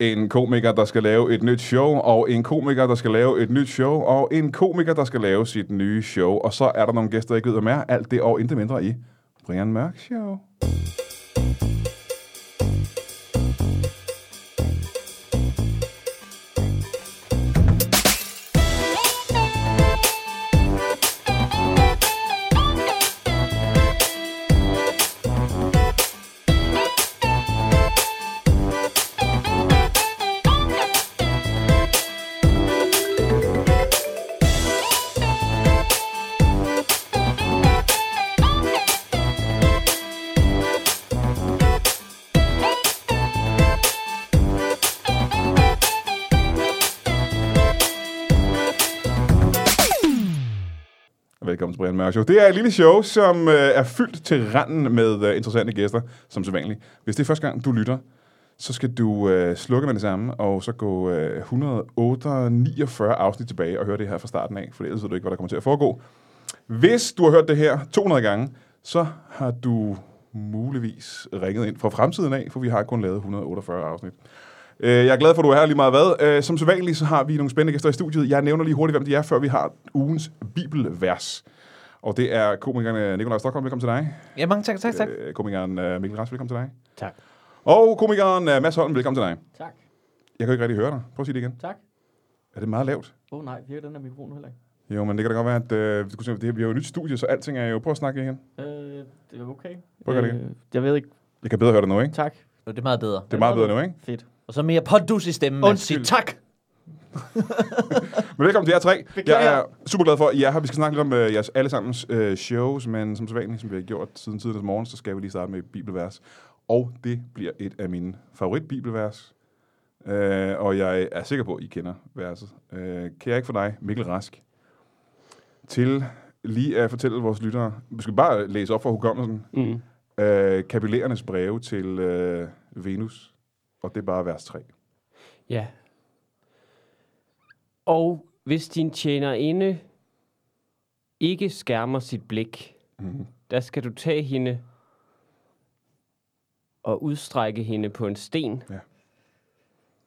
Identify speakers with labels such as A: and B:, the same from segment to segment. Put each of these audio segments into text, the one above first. A: en komiker, der skal lave et nyt show, og en komiker, der skal lave et nyt show, og en komiker, der skal lave sit nye show. Og så er der nogle gæster, jeg ikke ved, hvem er. Alt det og intet mindre i Brian Mørk Show. Velkommen til Brian Mørk Show. Det er et lille show, som øh, er fyldt til randen med øh, interessante gæster, som så vanligt. Hvis det er første gang, du lytter, så skal du øh, slukke med det samme, og så gå øh, 149 afsnit tilbage og høre det her fra starten af, for ellers ved du ikke, hvad der kommer til at foregå. Hvis du har hørt det her 200 gange, så har du muligvis ringet ind fra fremtiden af, for vi har kun lavet 148 afsnit. Øh, Jeg er glad for, at du er her lige meget hvad. Øh, Som sædvanligt, så har vi nogle spændende gæster i studiet. Jeg nævner lige hurtigt, hvem de er, før vi har ugens bibelvers. Og det er komikeren øh, Nikolaj Stockholm, velkommen til dig.
B: Ja, mange tak, tak, tak.
A: Øh, Komikeren øh, Mikkel Rask, velkommen til dig.
C: Tak.
A: Og komikeren øh, Mads Holm, velkommen til dig.
C: Tak.
A: Jeg kan jo ikke rigtig høre dig. Prøv at sige det igen.
C: Tak.
A: Er det meget lavt?
C: Åh oh, nej, virker den her mikrofon heller ikke?
A: Jo, men det kan da godt være, at øh, vi skulle se, det her- vi har jo et nyt studie, så alting er jo... Prøv at snakke igen.
C: Øh, det er okay.
A: Prøv at gøre det
C: øh, jeg ved ikke.
A: Jeg kan bedre høre dig nu, ikke?
C: Tak.
B: Jo, det er meget bedre.
A: Det er meget bedre nu, ikke?
C: Fedt.
B: Og så mere pondus i stemmen. man
C: Undskyld.
B: siger tak.
A: Men velkommen til jer tre.
C: Beklager.
A: Jeg er super glad for, at I er her. Vi skal snakke lidt om øh, jeres allesammens øh, shows, men som sædvanligt, som vi har gjort siden tidens morgen, så skal vi lige starte med et bibelvers. Og det bliver et af mine favoritbibelvers. Øh, og jeg er sikker på, at I kender verset. Øh, kan jeg ikke for dig, Mikkel Rask, til lige at fortælle vores lyttere, vi skal bare læse op for hukommelsen,
C: Mm.
A: øh, kapillerernes breve til øh, Venus, og det er bare vers 3.
D: Ja. Og hvis din tjenerinde ikke skærmer sit blik,
A: Mhm.
D: der skal du tage hende og udstrække hende på en sten
A: Ja.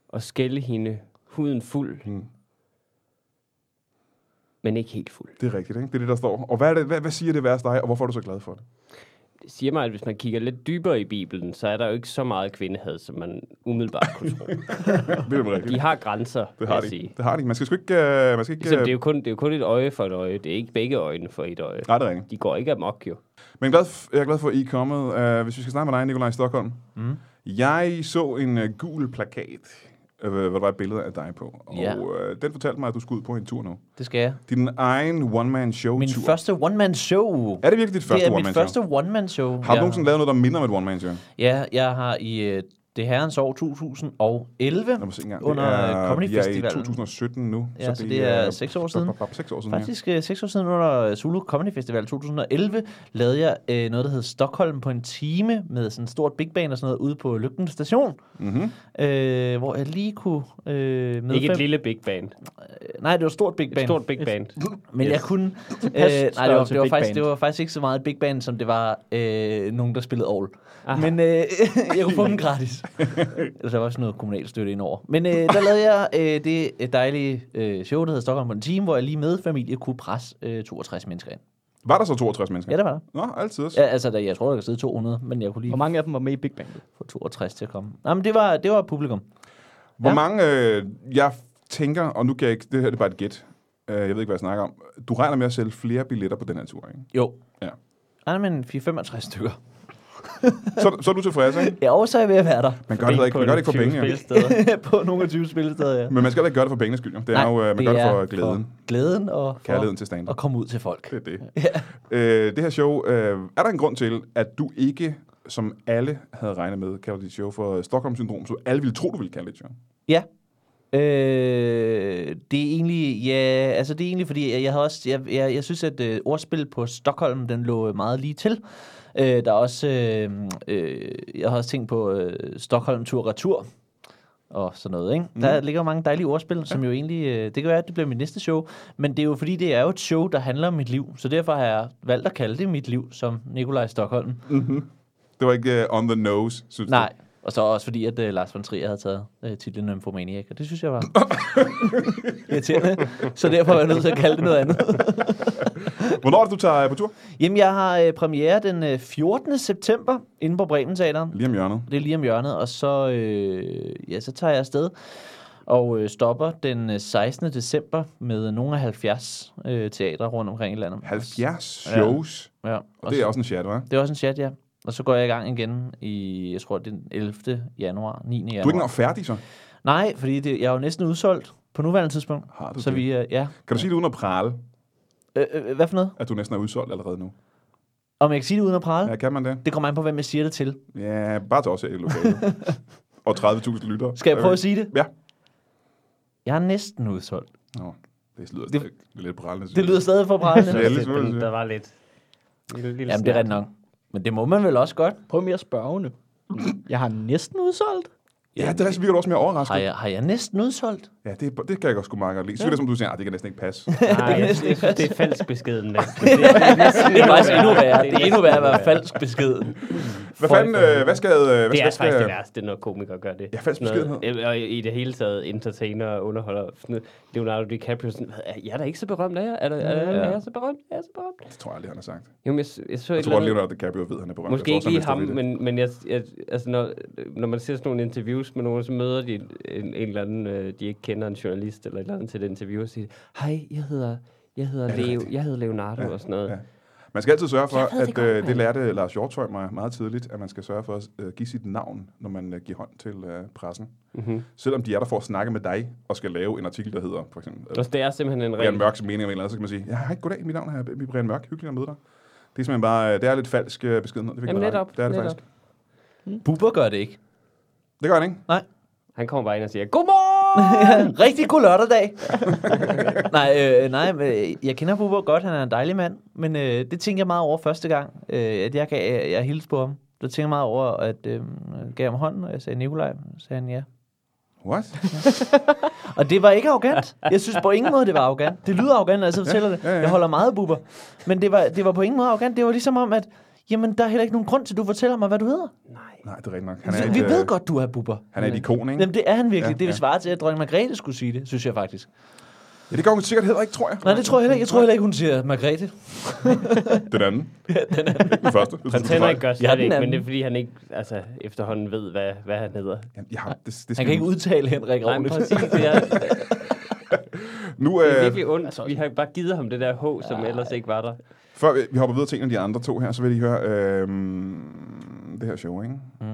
D: og skælde hende huden fuld,
A: Mhm.
D: men ikke helt fuld.
A: Det er rigtigt, ikke? Det er det, der står. Og hvad, er det, hvad, hvad siger det vers dig, og hvorfor er du så glad for det?
D: Det siger mig, at hvis man kigger lidt dybere i Bibelen, så er der jo ikke så meget kvindehad, som man umiddelbart kunne tro.
A: Det er rigtigt.
D: De har grænser,
A: Det
D: vil
A: har
D: jeg
A: de.
D: sige.
A: Det har de. Man skal sgu ikke... Øh, man skal ikke
D: Ligesom, det, er
A: øh,
D: jo kun, det er jo kun et øje for et øje. Det er ikke begge øjne for et øje.
A: nej, det er rigtigt.
D: De går ikke amok, jo.
A: Men glad, f- jeg er glad for, at I er kommet. Uh, hvis vi skal snakke med dig, Nikolaj Stockholm.
B: Mm.
A: Jeg så en uh, gul plakat, øh, hvor der var et billede af dig på. Og
B: Ja.
A: øh, den fortalte mig, at du skulle ud på en tur nu.
B: Det skal jeg.
A: Din egen one-man-show-tur.
B: Min første one-man-show.
A: Er det virkelig dit
B: Det
A: første
B: er mit
A: one-man-show?
B: første one-man-show.
A: Har du
B: jeg
A: nogensinde lavet noget, der minder om et one-man-show?
B: Ja, jeg har i øh, det herrens år 2011,
A: Lad mig se engang.
B: under
A: det er,
B: Comedy
A: vi er i
B: Festivalen.
A: 2017 nu.
B: Ja, så det er seks år siden.
A: Bop, bop, bop, seks år siden, ja.
B: Faktisk øh, seks år siden under Zulu Comedy Festival 2011 lavede jeg øh, noget, der hed Stockholm på en time med sådan en stort big band og sådan noget ude på Lygten station,
A: Mhm.
B: øh, hvor jeg lige kunne øh, med
D: Ikke et lille big band.
B: Nej, det var stort big
D: Et
B: band.
D: stort big band.
B: Men yes. jeg
D: Yes.
B: kunne... Øh, nej,
C: størrelse
B: det var, det, var
C: big
B: faktisk,
C: band.
B: det var faktisk ikke så meget big band, som det var øh, nogen, der spillede all.
D: Aha.
B: Men øh, jeg kunne få dem gratis. Altså, der var også noget kommunal støtte indover. Men øh, der lavede jeg øh, det dejlige øh, show, der hedder Stockholm på en time, hvor jeg lige med familie kunne presse øh, 62 mennesker ind.
A: Var der så 62 mennesker?
B: Ja, der var der.
A: Nå, altid også.
B: Ja, altså, der, jeg tror, der kan sidde 200, men jeg kunne lige
C: Hvor mange af dem var med i Big Bang?
B: få 62 til at komme. Nej, men det var, det var publikum.
A: Hvor
B: Ja.
A: mange, øh, jeg tænker, og nu kan jeg ikke, det her det er bare et gæt, øh, jeg ved ikke, hvad jeg snakker om. Du regner med at sælge flere billetter på den her tur, ikke?
B: Jo.
A: Ja.
B: Nej, men 4-65 stykker.
A: Så, så er du tilfreds, ikke?
B: Ja, og så er jeg ved at være der.
A: Man gør det, heller ikke, man gør det ikke for penge, jo.
B: på nogle af 20 spillesteder, ja.
A: men man skal heller ikke gøre det for pengenes skyld. jo. Det er
B: Nej,
A: jo, øh, man gør det for glæden,
B: For glæden og for
A: kærligheden til stand
B: at komme ud til folk.
A: Det er det. Øh, det her show, øh, er der en grund til, at du ikke, som alle havde regnet med, kalder dit show for Stockholm-syndrom, så alle ville tro, du ville kalde det show?
B: Ja. Øh, det er egentlig, ja, altså det er egentlig, fordi jeg, jeg havde også, jeg, jeg, jeg synes, at øh, ordspil på Stockholm, den lå øh, meget lige til. Øh, der er også, øh, øh, jeg har også tænkt på øh, Stockholm tur retur og sådan noget, ikke? Der
A: Mm.
B: ligger jo mange dejlige ordspil, som jo egentlig, øh, det kan være, at det bliver mit næste show, men det er jo fordi, det er jo et show, der handler om mit liv, så derfor har jeg valgt at kalde det mit liv som Nikolaj Stockholm.
A: Det var ikke øh, on the nose, synes du?
B: Nej, Og så også fordi, at uh, Lars von Trier havde taget uh, titlen Nymphomaniac, og det synes jeg var irriterende. Så derfor var jeg nødt til at kalde det noget andet.
A: Hvornår er det, du tager øh, på tur?
B: Jamen, jeg har uh, premiere den øh, 14. september inde på Bremen Teateren.
A: Lige om hjørnet.
B: Det er lige om hjørnet, og så, øh, ja, så tager jeg afsted og øh, stopper den øh, 16. december med nogle af 70 øh, teatre rundt omkring i landet.
A: 70 shows.
B: Ja,
A: Og det er også en chat, hva'?
B: det er også en chat, ja. Og så går jeg i gang igen i, jeg tror, det er den 11. januar, 9. januar.
A: Du er ikke engang færdig, så?
B: Nej, fordi det, jeg er jo næsten udsolgt på nuværende tidspunkt.
A: Har du
B: så
A: det?
B: vi, øh, ja.
A: Kan du sige det uden at prale,
B: Øh, øh, hvad for noget?
A: at du næsten er udsolgt allerede nu?
B: Om jeg kan sige det uden at prale?
A: Ja,
B: Ja.
A: kan man det?
B: Det kommer an på, hvem jeg siger det til.
A: Ja, bare til os her i lokalet. Og 30.000 lyttere.
B: Skal jeg prøve at sige det?
A: Øh, Ja.
B: Jeg er næsten udsolgt.
A: Nå, det lyder
B: Det-
A: det, lidt prallende. synes
B: Det
A: jeg.
B: lyder stadig for pralende.
A: Ja, lidt smule,
D: den,
A: ja.
D: der var lidt... Lille, lille
B: Jamen, det er
D: snert.
B: rigtigt nok. Men det må man vel også godt.
C: Prøv mere spørgende. Jeg har næsten udsolgt.
A: Ja, det er rigtigt, virker du også mere overrasket.
B: Har jeg, har jeg næsten udsolgt?
A: Ja, det, det kan jeg godt sgu meget godt lide. Så er det som du siger, "Ah, det kan næsten ikke passe.
D: Nej, jeg, jeg,
B: næsten
D: synes,
B: ikke
D: det er falsk beskeden. Det, det, er næsten
B: Det er faktisk endnu
D: værre.
B: værre. Det er endnu værre at
D: næsten
B: være falsk besked.
A: Hvad fanden, øh, hvad skal... Øh, hvad
D: Det er
A: skal,
D: faktisk det værste, når komikere gør det.
A: Ja, falsk
D: Sådan noget- Og i i det hele taget entertainer og underholder. Sådan noget. Leonardo DiCaprio sådan, "Hvad, jeg er da ikke så berømt, er jeg? Er, der, er, der,
B: Ja.
D: er jeg så berømt? Er jeg så berømt?
A: Det tror jeg aldrig, han har sagt.
D: Jo, men jeg, s- jeg så
A: Jeg
D: et
A: tror godt,
D: eller andet-
A: Leonardo DiCaprio ved, at han er berømt.
D: Måske
A: jeg
D: ikke
A: tror,
D: lige
A: også, han
D: ham,
A: vidste det.
D: men, men jeg, jeg, altså når, når man ser sådan nogle interviews med nogen, så møder de en, en eller anden, øh, de ikke kender en journalist eller et eller andet til et interview og siger, hej, jeg hedder, jeg hedder,
A: Ja, det er
D: Leo,
A: rigtigt.
D: jeg hedder Leonardo og sådan noget.
A: ja. Man skal altid sørge for,
D: Jeg ved det
A: at
D: godt,
A: øh, det
D: mand.
A: lærte Lars Hjortøj mig meget tidligt, at man skal sørge for at øh, give sit navn, når man øh, giver hånd til øh, pressen.
B: Mhm.
D: Mm-hmm.
A: Selvom de er der for at snakke med dig, og skal lave en artikel, der hedder for eksempel øh,
D: Og det er simpelthen en
A: Brian
D: regel.
A: Mørks mening om en eller anden, så kan man sige, ja, hej, goddag, mit navn er Brian Mørk, hyggeligt at møde dig. Det er simpelthen bare, øh, det er lidt falsk øh, beskedenhed. Det fik
D: Jamen,
A: jeg ret i.
D: netop,
A: Det er det
D: netop.
A: faktisk.
B: Bubber gør det ikke.
A: Det gør han ikke.
D: Han kommer bare ind og siger, godmorgen!
B: Rigtig god lørdag. nej, øh, nej, men, øh, jeg kender Bubber godt. Han er en dejlig mand. Men øh, det tænkte jeg meget over første gang, øh, at jeg, gav, jeg, jeg hilste på ham. Der tænkte jeg meget over, at øh, jeg gav ham hånden, og jeg sagde Nikolaj. Så sagde han ja.
A: What?
B: Og det var ikke arrogant. Jeg synes på ingen måde, det var arrogant. Det lyder arrogant, når jeg så fortæller det.
A: ja, ja.
B: Jeg holder meget af buber. Men det var, det var på ingen måde arrogant. Det var ligesom om, at jamen, der er heller ikke nogen grund til, at du fortæller mig, hvad du hedder.
A: Nej, det er rigtigt nok. Han
B: Så,
A: er,
B: vi
A: et,
B: ved
A: øh,
B: godt, du er buber.
A: han er et ikon, ikke?
B: Jamen, det er han virkelig.
A: Ja,
B: Ja, det vil
A: ja.
B: svare til, at dronning Margrethe skulle sige det, synes jeg faktisk.
A: Ja, det gør hun sikkert heller ikke, tror jeg.
B: Nej, det tror jeg heller ikke. Jeg tror heller ikke, hun siger Margrethe.
A: Den anden. Ikke den første.
D: Prins Henrik gør
B: Jeg er
D: slet
B: den
D: ikke, men
B: anden.
D: det er fordi, han ikke altså, efterhånden ved, hvad, hvad han hedder.
A: Jamen, ja, det, det
B: Han
A: skal
B: kan
A: vi-
B: ikke udtale Henrik
D: Nej, men
B: ordentligt.
D: præcis, det er,
A: Nu,
D: det er
A: øh,
D: virkelig
B: Altså,
D: ondt. Vi har bare givet ham det der H, som ellers ikke var der.
A: før vi, vi hopper videre til en af de andre to her, så vil I høre øh, det her show, ikke? Mm.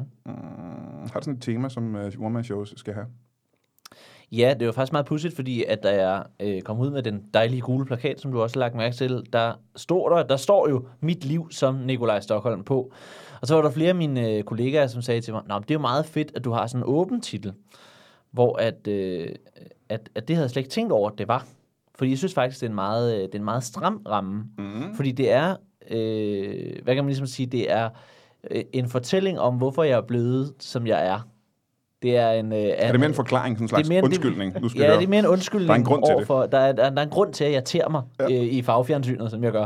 A: Har det sådan et tema, som øh, one-man-shows skal have?
B: Ja, det var faktisk meget pudsigt, fordi at da jeg øh, kom ud med den dejlige gule plakat, som du også har lagt mærke til, der står der, der står jo mit liv som Nikolaj Stockholm på. Og så var der flere af mine øh, kollegaer, som sagde til mig, Nå, men det er jo meget fedt, at du har sådan en åben titel, hvor at, øh, at, at det havde jeg slet ikke tænkt over, at det var. Fordi jeg synes faktisk, det er en meget, øh, det er en meget stram ramme.
A: Mhm.
B: Mm. Fordi det er, øh, hvad kan man ligesom sige, det er øh, en fortælling om, hvorfor jeg er blevet, som jeg er. Det er en... Øh,
A: Er det mere en forklaring, sådan en slags
B: det er mere en-
A: undskyldning? Nu skal
B: Ja,
A: vi høre.
B: det er mere en undskyldning
A: Der er en grund til det.
B: overfor. Der, er, der, er, der er en grund til, at jeg tærer mig ja. øh, i farvefjernsynet, som jeg gør.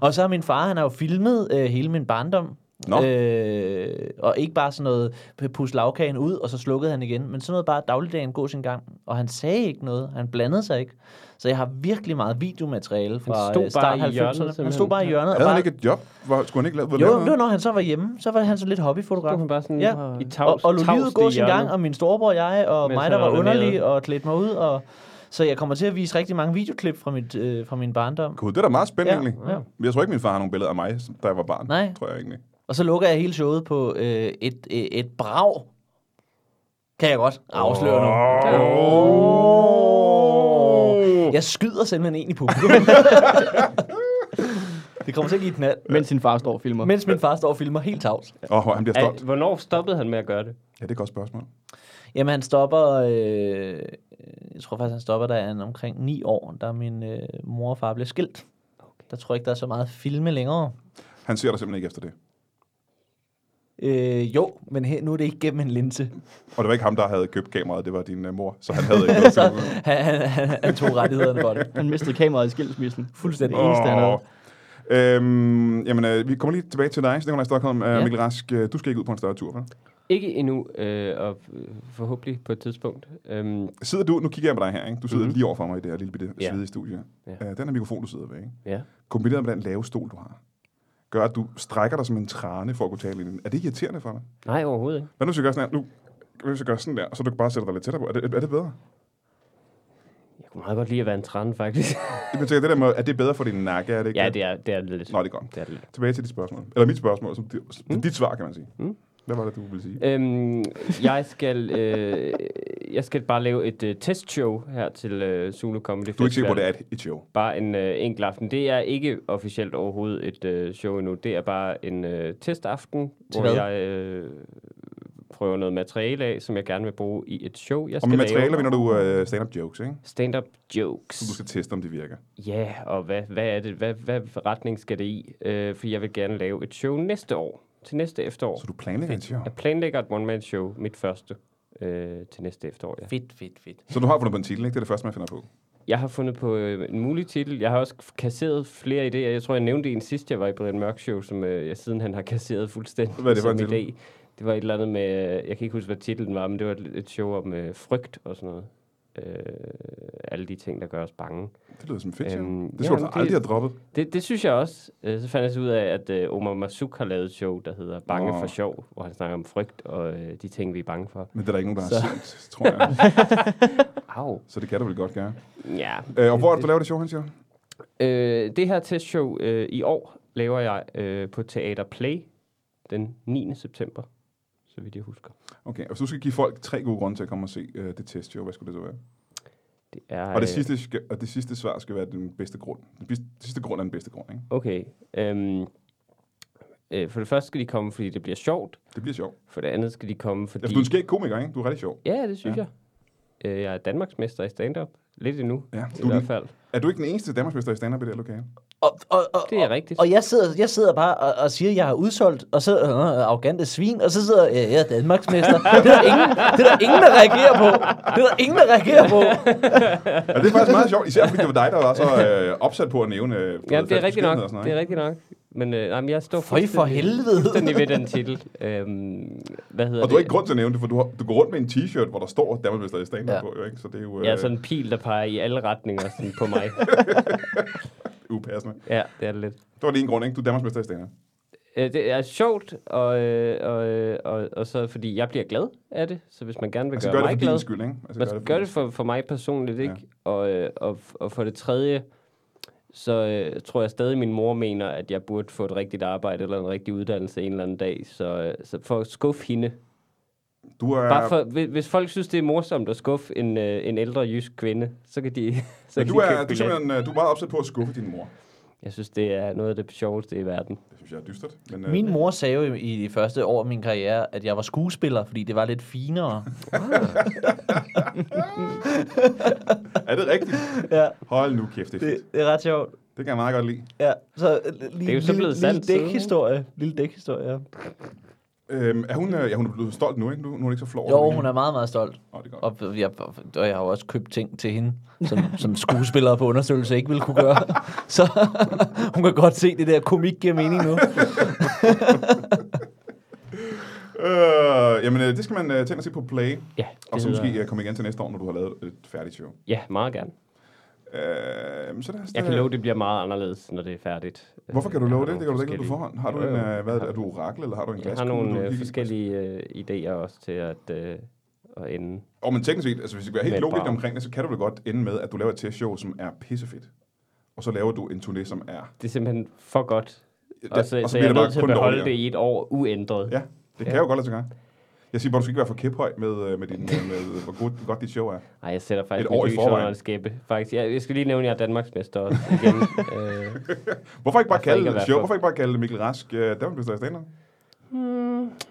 B: og så har min far, han har jo filmet øh, hele min barndom.
A: Nå.
B: Øh, og ikke bare sådan noget, p- pus lavkagen ud, og så slukkede han igen, men sådan noget bare dagligdagen gå sin gang. Og han sagde ikke noget, han blandede sig ikke. Så jeg har virkelig meget videomateriale fra
D: stod
B: øh, start
D: bare i hjørnet,
B: 90'erne. Han stod
D: simpelthen.
B: bare i hjørnet. og
A: Havde
B: bare,
A: han ikke et job? Hvor, skulle han ikke lave
B: jo,
A: lave
B: det var, når han så var hjemme, så var han så lidt hobbyfotograf.
D: Så var han bare sådan
B: ja.
D: i tavs-
B: og, og lå livet
D: tavst i
B: gå sin
D: hjørnet.
B: gang, og min storebror og jeg, og
D: Mens
B: mig,
D: han
B: der var
D: onanerede.
B: underlig, og klædte mig ud. Og, så jeg kommer til at vise rigtig mange videoklip fra, mit, øh, fra min barndom.
A: Gud, det er da meget spændende
B: Ja,
A: egentlig.
B: ja.
A: Men Jeg tror ikke, min far har nogle billeder af mig, som- da jeg var barn.
B: Nej.
A: Tror jeg egentlig.
B: Og så lukker jeg hele showet på øh, et, øh, et brag. Kan jeg godt afsløre nu.
A: Oh.
B: Jeg skyder simpelthen en i publikum. det kommer til at give et knald.
C: Mens sin far står og filmer.
B: Mens min far står og filmer helt tavs.
A: Åh, han bliver stolt.
D: Al, hvornår stoppede han med at gøre det?
A: Ja, det er et godt spørgsmål.
B: Jamen, han stopper... Øh, jeg tror faktisk, han stopper, da han er omkring 9 år, da min øh, mor og far blev skilt. Der tror jeg ikke, der er så meget filme længere.
A: Han ser dig simpelthen ikke efter det.
B: Øh, jo, men her, nu er det ikke gennem en linse.
A: Og det var ikke ham, der havde købt kameraet, det var din uh, mor, så han havde ikke noget.
B: Så han, han, han, han tog rettighederne for det.
C: Han mistede kameraet i skilsmissen.
B: Fuldstændig.
C: eneste, han havde.
A: Åh. Øhm, jamen, øh, vi kommer lige tilbage til dig, så det Stockholm. Øh,
D: Ja.
A: Mikkel Rask, øh, du skal ikke ud på en større tur, vel?
D: Ikke endnu, øh, og øh, forhåbentlig på et tidspunkt. Øhm,
A: Sidder du, nu kigger jeg på dig her, ikke? Du sidder mm-hmm.
D: Mhm.
A: lige over for mig i det her lille bitte
D: Ja.
A: svedige studie.
D: Ja.
A: Øh, den her mikrofon, du sidder ved, ikke?
D: ja.
A: kombineret med den lave stol, du har, gør, at du strækker dig som en trane for at kunne tale ind i den. Er det irriterende for dig?
D: Nej, overhovedet ikke.
A: Hvad nu, hvis jeg gør sådan her? Nu, hvad hvis jeg gør sådan der, og så du kan bare sætte dig lidt tættere på? Er det, er det bedre?
D: Jeg kunne meget godt lide at være en træn, faktisk.
A: Jeg tænker, det der med, er det bedre for din nakke? Er det ikke
D: ja, det er, det er det lidt.
A: Nå, det er godt.
D: Det er det lidt.
A: Tilbage til dit spørgsmål. Eller mit spørgsmål, som dit, mm. dit svar, kan man sige. Mm.
D: Mm.
A: Hvad var det, du ville sige?
D: Øhm, jeg, skal, øh, jeg skal bare lave et øh, testshow her til øh, Zulu Comedy Festival.
A: Du er ikke sikker på, at det er et, et show.
D: Bare en øh, enkelt aften. Det er ikke officielt overhovedet et øh, show endnu. Det er bare en øh, testaften,
B: Til
D: hvor
B: hvad?
D: jeg øh, prøver noget materiale af, som jeg gerne vil bruge i et show, jeg
A: Og
D: skal
A: med
D: lave.
A: materialer vinder du øh, stand-up jokes, ikke?
D: Stand-up jokes.
A: Så du skal teste, om de virker.
D: Ja, og hvad, hvad er det? Hvad, hvad retning skal det i? Øh, for jeg vil gerne lave et show næste år. Til næste efterår.
A: Så du planlægger et show.
D: Jeg planlægger et one-man-show, mit første, øh, til næste efterår, ja.
B: Fedt, fedt, fedt.
A: Så du har fundet på en titel, ikke? Det er det første, man finder på.
D: Jeg har fundet på øh, en mulig titel. Jeg har også kasseret flere idéer. Jeg tror, jeg nævnte en sidst, jeg var i Brian Mørk Show, som øh, jeg siden han har kasseret fuldstændig
A: Hvad er det for
D: som
A: en titel?
D: idé. Det var et eller andet med, øh, jeg kan ikke huske, hvad titlen var, men det var et, et show om øh, frygt og sådan noget. Øh, alle de ting, der gør os bange.
A: Det lyder som fedt, show.
D: Øhm,
A: Det skulle
D: jamen,
A: du
D: det-
A: aldrig have droppet.
D: Det, det synes jeg også. Øh, så fandt jeg så ud af, at øh, Omar Masuk har lavet et show, der hedder Bange
A: Nå.
D: for sjov, hvor han snakker om frygt og øh, de ting, vi er bange for.
A: Men det er der ikke nogen, der har set, tror jeg.
D: Au.
A: Så det kan du vel godt gøre.
D: Ja.
A: Øh, og hvor er det, du laver det show, han siger?
D: Øh, det her testshow øh, i år laver jeg øh, på Teater Play den 9. september, så vidt jeg husker.
A: Okay, og hvis du skal give folk tre gode grunde til at komme og se øh, det testshow, hvad skulle det så være?
D: Det er,
A: Og det,
D: øh,
A: sidste, skal, og det sidste svar skal være den bedste grund. Den, bedste, den sidste grund er den bedste grund, ikke?
D: Okay. Øhm, øh, for det første skal de komme, fordi det bliver sjovt.
A: Det bliver sjovt.
D: For det andet skal de komme, fordi...
A: Altså, du er en skæg komiker, ikke? Du er rigtig sjov.
D: Ja, det synes
A: Ja.
D: ja. jeg. Øh, jeg er Danmarksmester i stand-up. Lidt endnu,
A: Ja,
D: i
A: du er,
D: hvert
A: den,
D: fald.
A: er du ikke den eneste Danmarksmester i stand-up i det her lokale?
B: Og, og, og,
D: Det er
B: og-
D: rigtigt.
B: Og jeg sidder, jeg sidder bare og, og siger, at jeg har udsolgt, og så øh, arrogante svin, og så sidder øh, jeg er Danmarksmester. Det er, der ingen, det er der ingen, der reagerer på. Det er der ingen, der reagerer på.
A: Ja, Altså, det er faktisk meget sjovt, især fordi det var dig, der var så øh, opsat på at nævne... Øh,
D: Ja, det er rigtigt nok.
A: Og sådan noget,
D: Det
A: ikke?
D: er rigtigt nok. Men øh, nej, men jeg står
B: Føj for
D: fuldstændig-
B: helvede.
D: fuldstændig ved den titel. Øhm, hvad hedder
A: Og du har
D: det?
A: ikke grund til at nævne det, for du, har, du går rundt med en t-shirt, hvor der står Danmarksmester i stand-up
B: Ja.
A: på, jo, ikke? Så det er jo øh,
D: Ja, sådan en pil, der peger i alle retninger sådan, på mig.
A: upassende.
D: ja, det er det lidt.
A: Det var lige en grund, ikke? Du er Danmarksmester i stand-up.
D: Øh, det er sjovt, og, øh, og, øh, og, og så fordi jeg bliver glad af det, så hvis man gerne vil
A: Altså,
D: gøre
A: gør det
D: mig
A: for
D: glad,
A: din skyld, ikke? Altså,
D: man skal gøre det for, for mig personligt, ikke? Og, øh, og, og for det tredje, så øh, tror jeg stadig, min mor mener, at jeg burde få et rigtigt arbejde eller en rigtig uddannelse en eller anden dag. Så, øh, så for at skuffe hende,
A: Du er...
D: Bare for, hvis, hvis folk synes, det er morsomt at skuffe en, øh, en ældre jysk kvinde, så kan de, så
A: Men
D: kan
A: du
D: de
A: er,
D: købe
A: du, er
D: billet.
A: simpelthen, øh, du er meget opsat på at skuffe din mor.
D: Jeg synes, det er noget af det sjoveste i verden.
A: Det synes jeg er dystert. Men, øh,
B: Min mor sagde jo i de første år af min karriere, at jeg var skuespiller, fordi det var lidt finere.
A: Er det rigtigt?
B: Ja,
A: Hold nu kæft, det er fedt.
B: det er ret sjovt.
A: Det kan jeg meget godt lide.
B: Ja, så øh, lige,
D: Det er jo så blevet
B: lille,
D: sandt siden,
B: lille
D: ikke?
B: dækhistorie. Lille dækhistorie, ja.
A: Øhm, er hun, øh, ja, hun er blevet stolt nu, ikke? Nu, nu er hun ikke så flov.
B: Jo, hun er meget, meget stolt.
A: Oh, det er godt.
B: Og jeg, og jeg har jo også købt ting til hende, som, som skuespillere på undersøgelse ikke ville kunne gøre. Så hun kan godt se, det der komik giver mening nu.
A: Øh, jamen, øh, det skal man øh, tænke at se på play.
D: Ja,
A: Og
D: det
A: så
D: hedder,
A: måske øh, komme igen til næste år, når du har lavet et færdigt show.
D: ja meget gerne.
A: Øh, jamen, så lad os,
D: Jeg
A: da-
D: kan love, det bliver meget anderledes, når det er færdigt. Øh,
A: Hvorfor kan du
D: Jeg
A: love
D: har
A: det? Det
D: nogle
A: kan du da ikke vide på forhånd.
D: forskellige-
A: Har du
D: Jo,
A: en,
D: jo,
A: øh,
D: jeg
A: hvad,
D: har-
A: er du orakel, eller har du en glaskugle?
D: Jeg har nogle
A: du
D: øh,
A: kigger-
D: forskellige øh, idéer også til at, øh, at ende.
A: Åh, men teknisk set, altså hvis vi skal være
D: Med
A: helt
D: et
A: logisk
D: brag.
A: omkring det, så kan du vel godt ende med, at du laver et testshow, som er pissefedt. Og så laver du en turné, som er...
D: Det er simpelthen for godt. Og så,
A: bliver
D: og så, så
A: det
D: jeg er
A: bare
D: nødt til at
A: kun
D: beholde
A: dårligere.
D: det i et år uændret.
A: Ja, det kan
D: Ja.
A: jo godt lade sig gøre. Jeg siger bare, du skal ikke være for kæphøj med, øh, med, din, øh, med hvor godt, godt dit show er.
D: Nej, jeg sætter faktisk
A: Et år i
D: mit lys
A: forvejen.
D: under en skæppe. Faktisk. Jeg, jeg skal lige nævne, at jeg er Danmarksmester også igen. øh,
A: Hvorfor ikke bare
D: Hvorfor ikke
A: kalde
D: at
A: det
D: være
A: show?
D: for-
A: Hvorfor ikke bare kalde Mikkel Rask øh, Danmarks bedste stand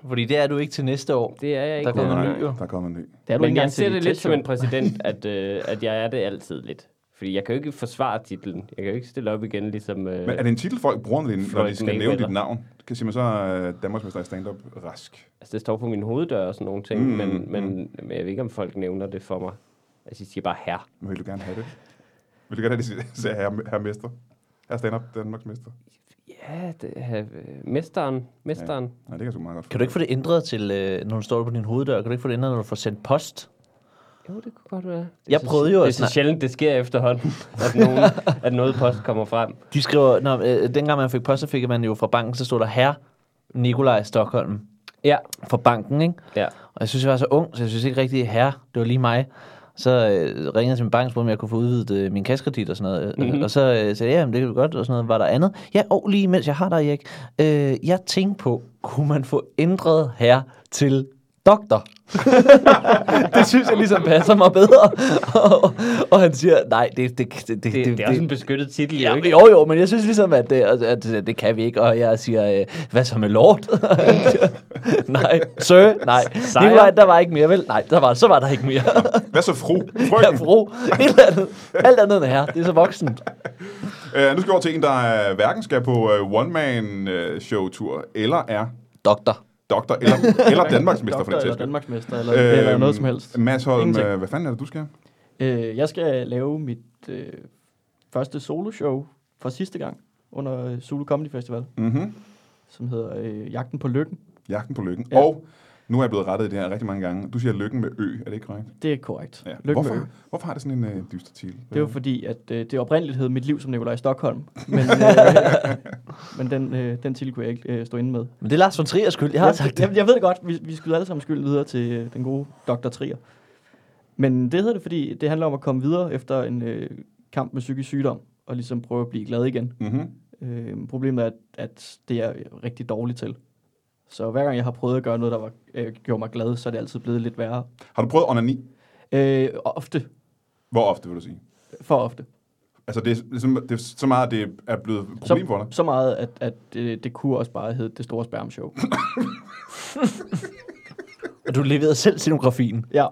B: Fordi det er du ikke til næste år.
D: det er jeg ikke.
B: Der kommer
D: Nej.
B: en ny, jo.
A: Der er kommet en ny.
C: Det er du ikke
D: Men jeg
C: engang til
D: ser
C: dit
D: det lidt som
C: testshow.
D: en præsident, at, øh, at jeg er det altid lidt. Fordi jeg kan jo ikke forsvare titlen. Jeg kan jo ikke stille op igen, ligesom... Øh,
A: Men er det en titel, folk bruger, når de, når de
D: Floyd
A: skal nævne
D: Mayweather.
A: dit navn? Kan sige man så øh, Danmarks bedste stand-up Rask?
D: altså, det står på min hoveddør og sådan nogle ting,
A: Mm,
D: mm, men, men, men jeg ved ikke, om folk nævner det for mig. Altså, de siger bare her.
A: Men vil du gerne have det? Vil du gerne have det, siger herre, herre mester? Herre stand-up Danmarks mester?
D: Ja, det er, øh, mesteren. Mesteren.
A: Nej,
D: Ja.
A: det kan jeg sgu meget godt
B: Kan du ikke få det ændret til, øh, når du står på din hoveddør? Kan du ikke få det ændret, når du får sendt post?
D: Jo, det kunne godt være. Det er
B: Jeg
D: så-
B: prøvede jo
D: Det er
B: at
D: så
B: snak-
D: sjældent, det sker efterhånden, at, nogen, at noget post kommer frem.
B: De skriver, når, øh, dengang man fik post, så fik man jo fra banken, så stod der herre Nikolaj Stockholm
D: Ja,
B: fra banken, ikke?
D: ja.
B: Og jeg synes, jeg var så ung, så jeg synes ikke rigtig, herre, det var lige mig. Så øh, ringede jeg til min bank, spurgte, om jeg kunne få udvidet øh, min kaskredit og sådan noget.
D: Mhm.
B: Mm-hmm. Og så øh, sagde jeg, ja, men det kan du godt, og sådan noget. Var der andet? Ja, og lige mens jeg har dig, Erik. Øh, jeg tænkte på, kunne man få ændret her til doktor? det synes jeg ligesom passer mig bedre. og, og han siger, nej, det, det, det, det,
D: Det, det, det er også en beskyttet titel, jo
B: Ja,
D: ikke?
B: jo, jo, men jeg synes ligesom, at det, at, at at det kan vi ikke. Og jeg siger, øh, hvad så med Lord? nej, sø, nej.
D: Sejr.
B: Nikolaj, der var ikke mere, vel? Nej, der var, så var der ikke mere.
A: Hvad så, fru?
B: Ja,
A: Frøken?
B: bro. Et eller andet. Alt andet end her. Det er så voksent.
A: Øh, nu skal vi over til en, der øh, hverken skal på øh, one-man-show-tur, eller er
B: Doktor.
A: doktor, eller, eller Danmarksmester, for den
E: Eller
A: sags skyld. Øhm,
E: Danmarksmester, eller, øh, eller noget som helst.
A: Mads Holm,
E: Ingenting.
A: øh, hvad fanden er det, du skal?
E: Øh, jeg skal lave mit øh, første soloshow fra sidste gang under øh, Zulu Comedy Festival,
A: Mm-hmm.
E: som hedder øh, Jagten på Lykken.
A: Jagten på lykken. Ja.
E: Ja.
A: Og nu er jeg blevet rettet i det her rigtig mange gange. Du siger lykken med ø, er det ikke korrekt?
E: Det er korrekt.
A: Ja.
E: Lykken
A: Hvorfor,
E: med Ø.
A: hvorfor har det sådan en øh, dyster titel?
E: Det var fordi, at øh, det oprindeligt hed Mit liv som Nikolaj Stockholm, men, øh, men den, øh, den titel kunne jeg ikke øh, stå inde med.
B: Men det er Lars von Triers skyld. Jeg har sagt det.
E: Jeg, jeg ved det godt, vi, vi skyder alle sammen skylden videre til øh, den gode Dr. Trier. Men det hedder det, fordi det handler om at komme videre efter en øh, kamp med psykisk sygdom, og ligesom prøve at blive glad igen.
A: Mm-hmm.
E: Øh, problemet er, at, at det er jeg rigtig dårligt til. Så hver gang jeg har prøvet at gøre noget, der var, øh, gjorde mig glad, så er det altid blevet lidt værre.
A: Har du prøvet onani?
E: Øh, og ofte.
A: Hvor ofte, vil du sige?
E: For ofte.
A: Altså, det er, ligesom, det er så meget, at det er blevet et problem for
E: Så,
A: dig.
E: så meget, at, at øh, det kunne også bare hedde Det Store Spermshow.
B: Og du leverede selv scenografien.
E: ja.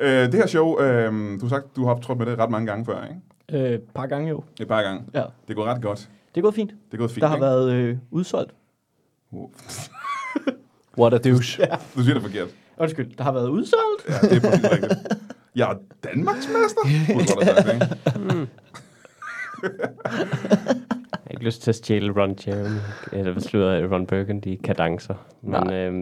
A: Øh, det her show, øh, du har sagt, du har optrådt med det ret mange gange før, ikke?
E: Øh, par gange jo.
A: Et par gange.
E: Ja.
A: Det er gået ret godt.
E: Det er gået fint.
A: Det er gået fint,
E: Der har
A: ikke?
E: været øh, udsolgt.
A: Wow.
B: What a douche.
A: Du siger det forkert.
E: Undskyld, der har været udsolgt.
A: Ja, det er præcis rigtigt. Jeg er Danmarksmester, burde du godt have sagt, ikke?
D: Jeg har ikke lyst til at stjæle Ron Jeremy, eller hvad slutter jeg, Ron Burgundy kadencer. Men,
B: Nej.
D: øhm,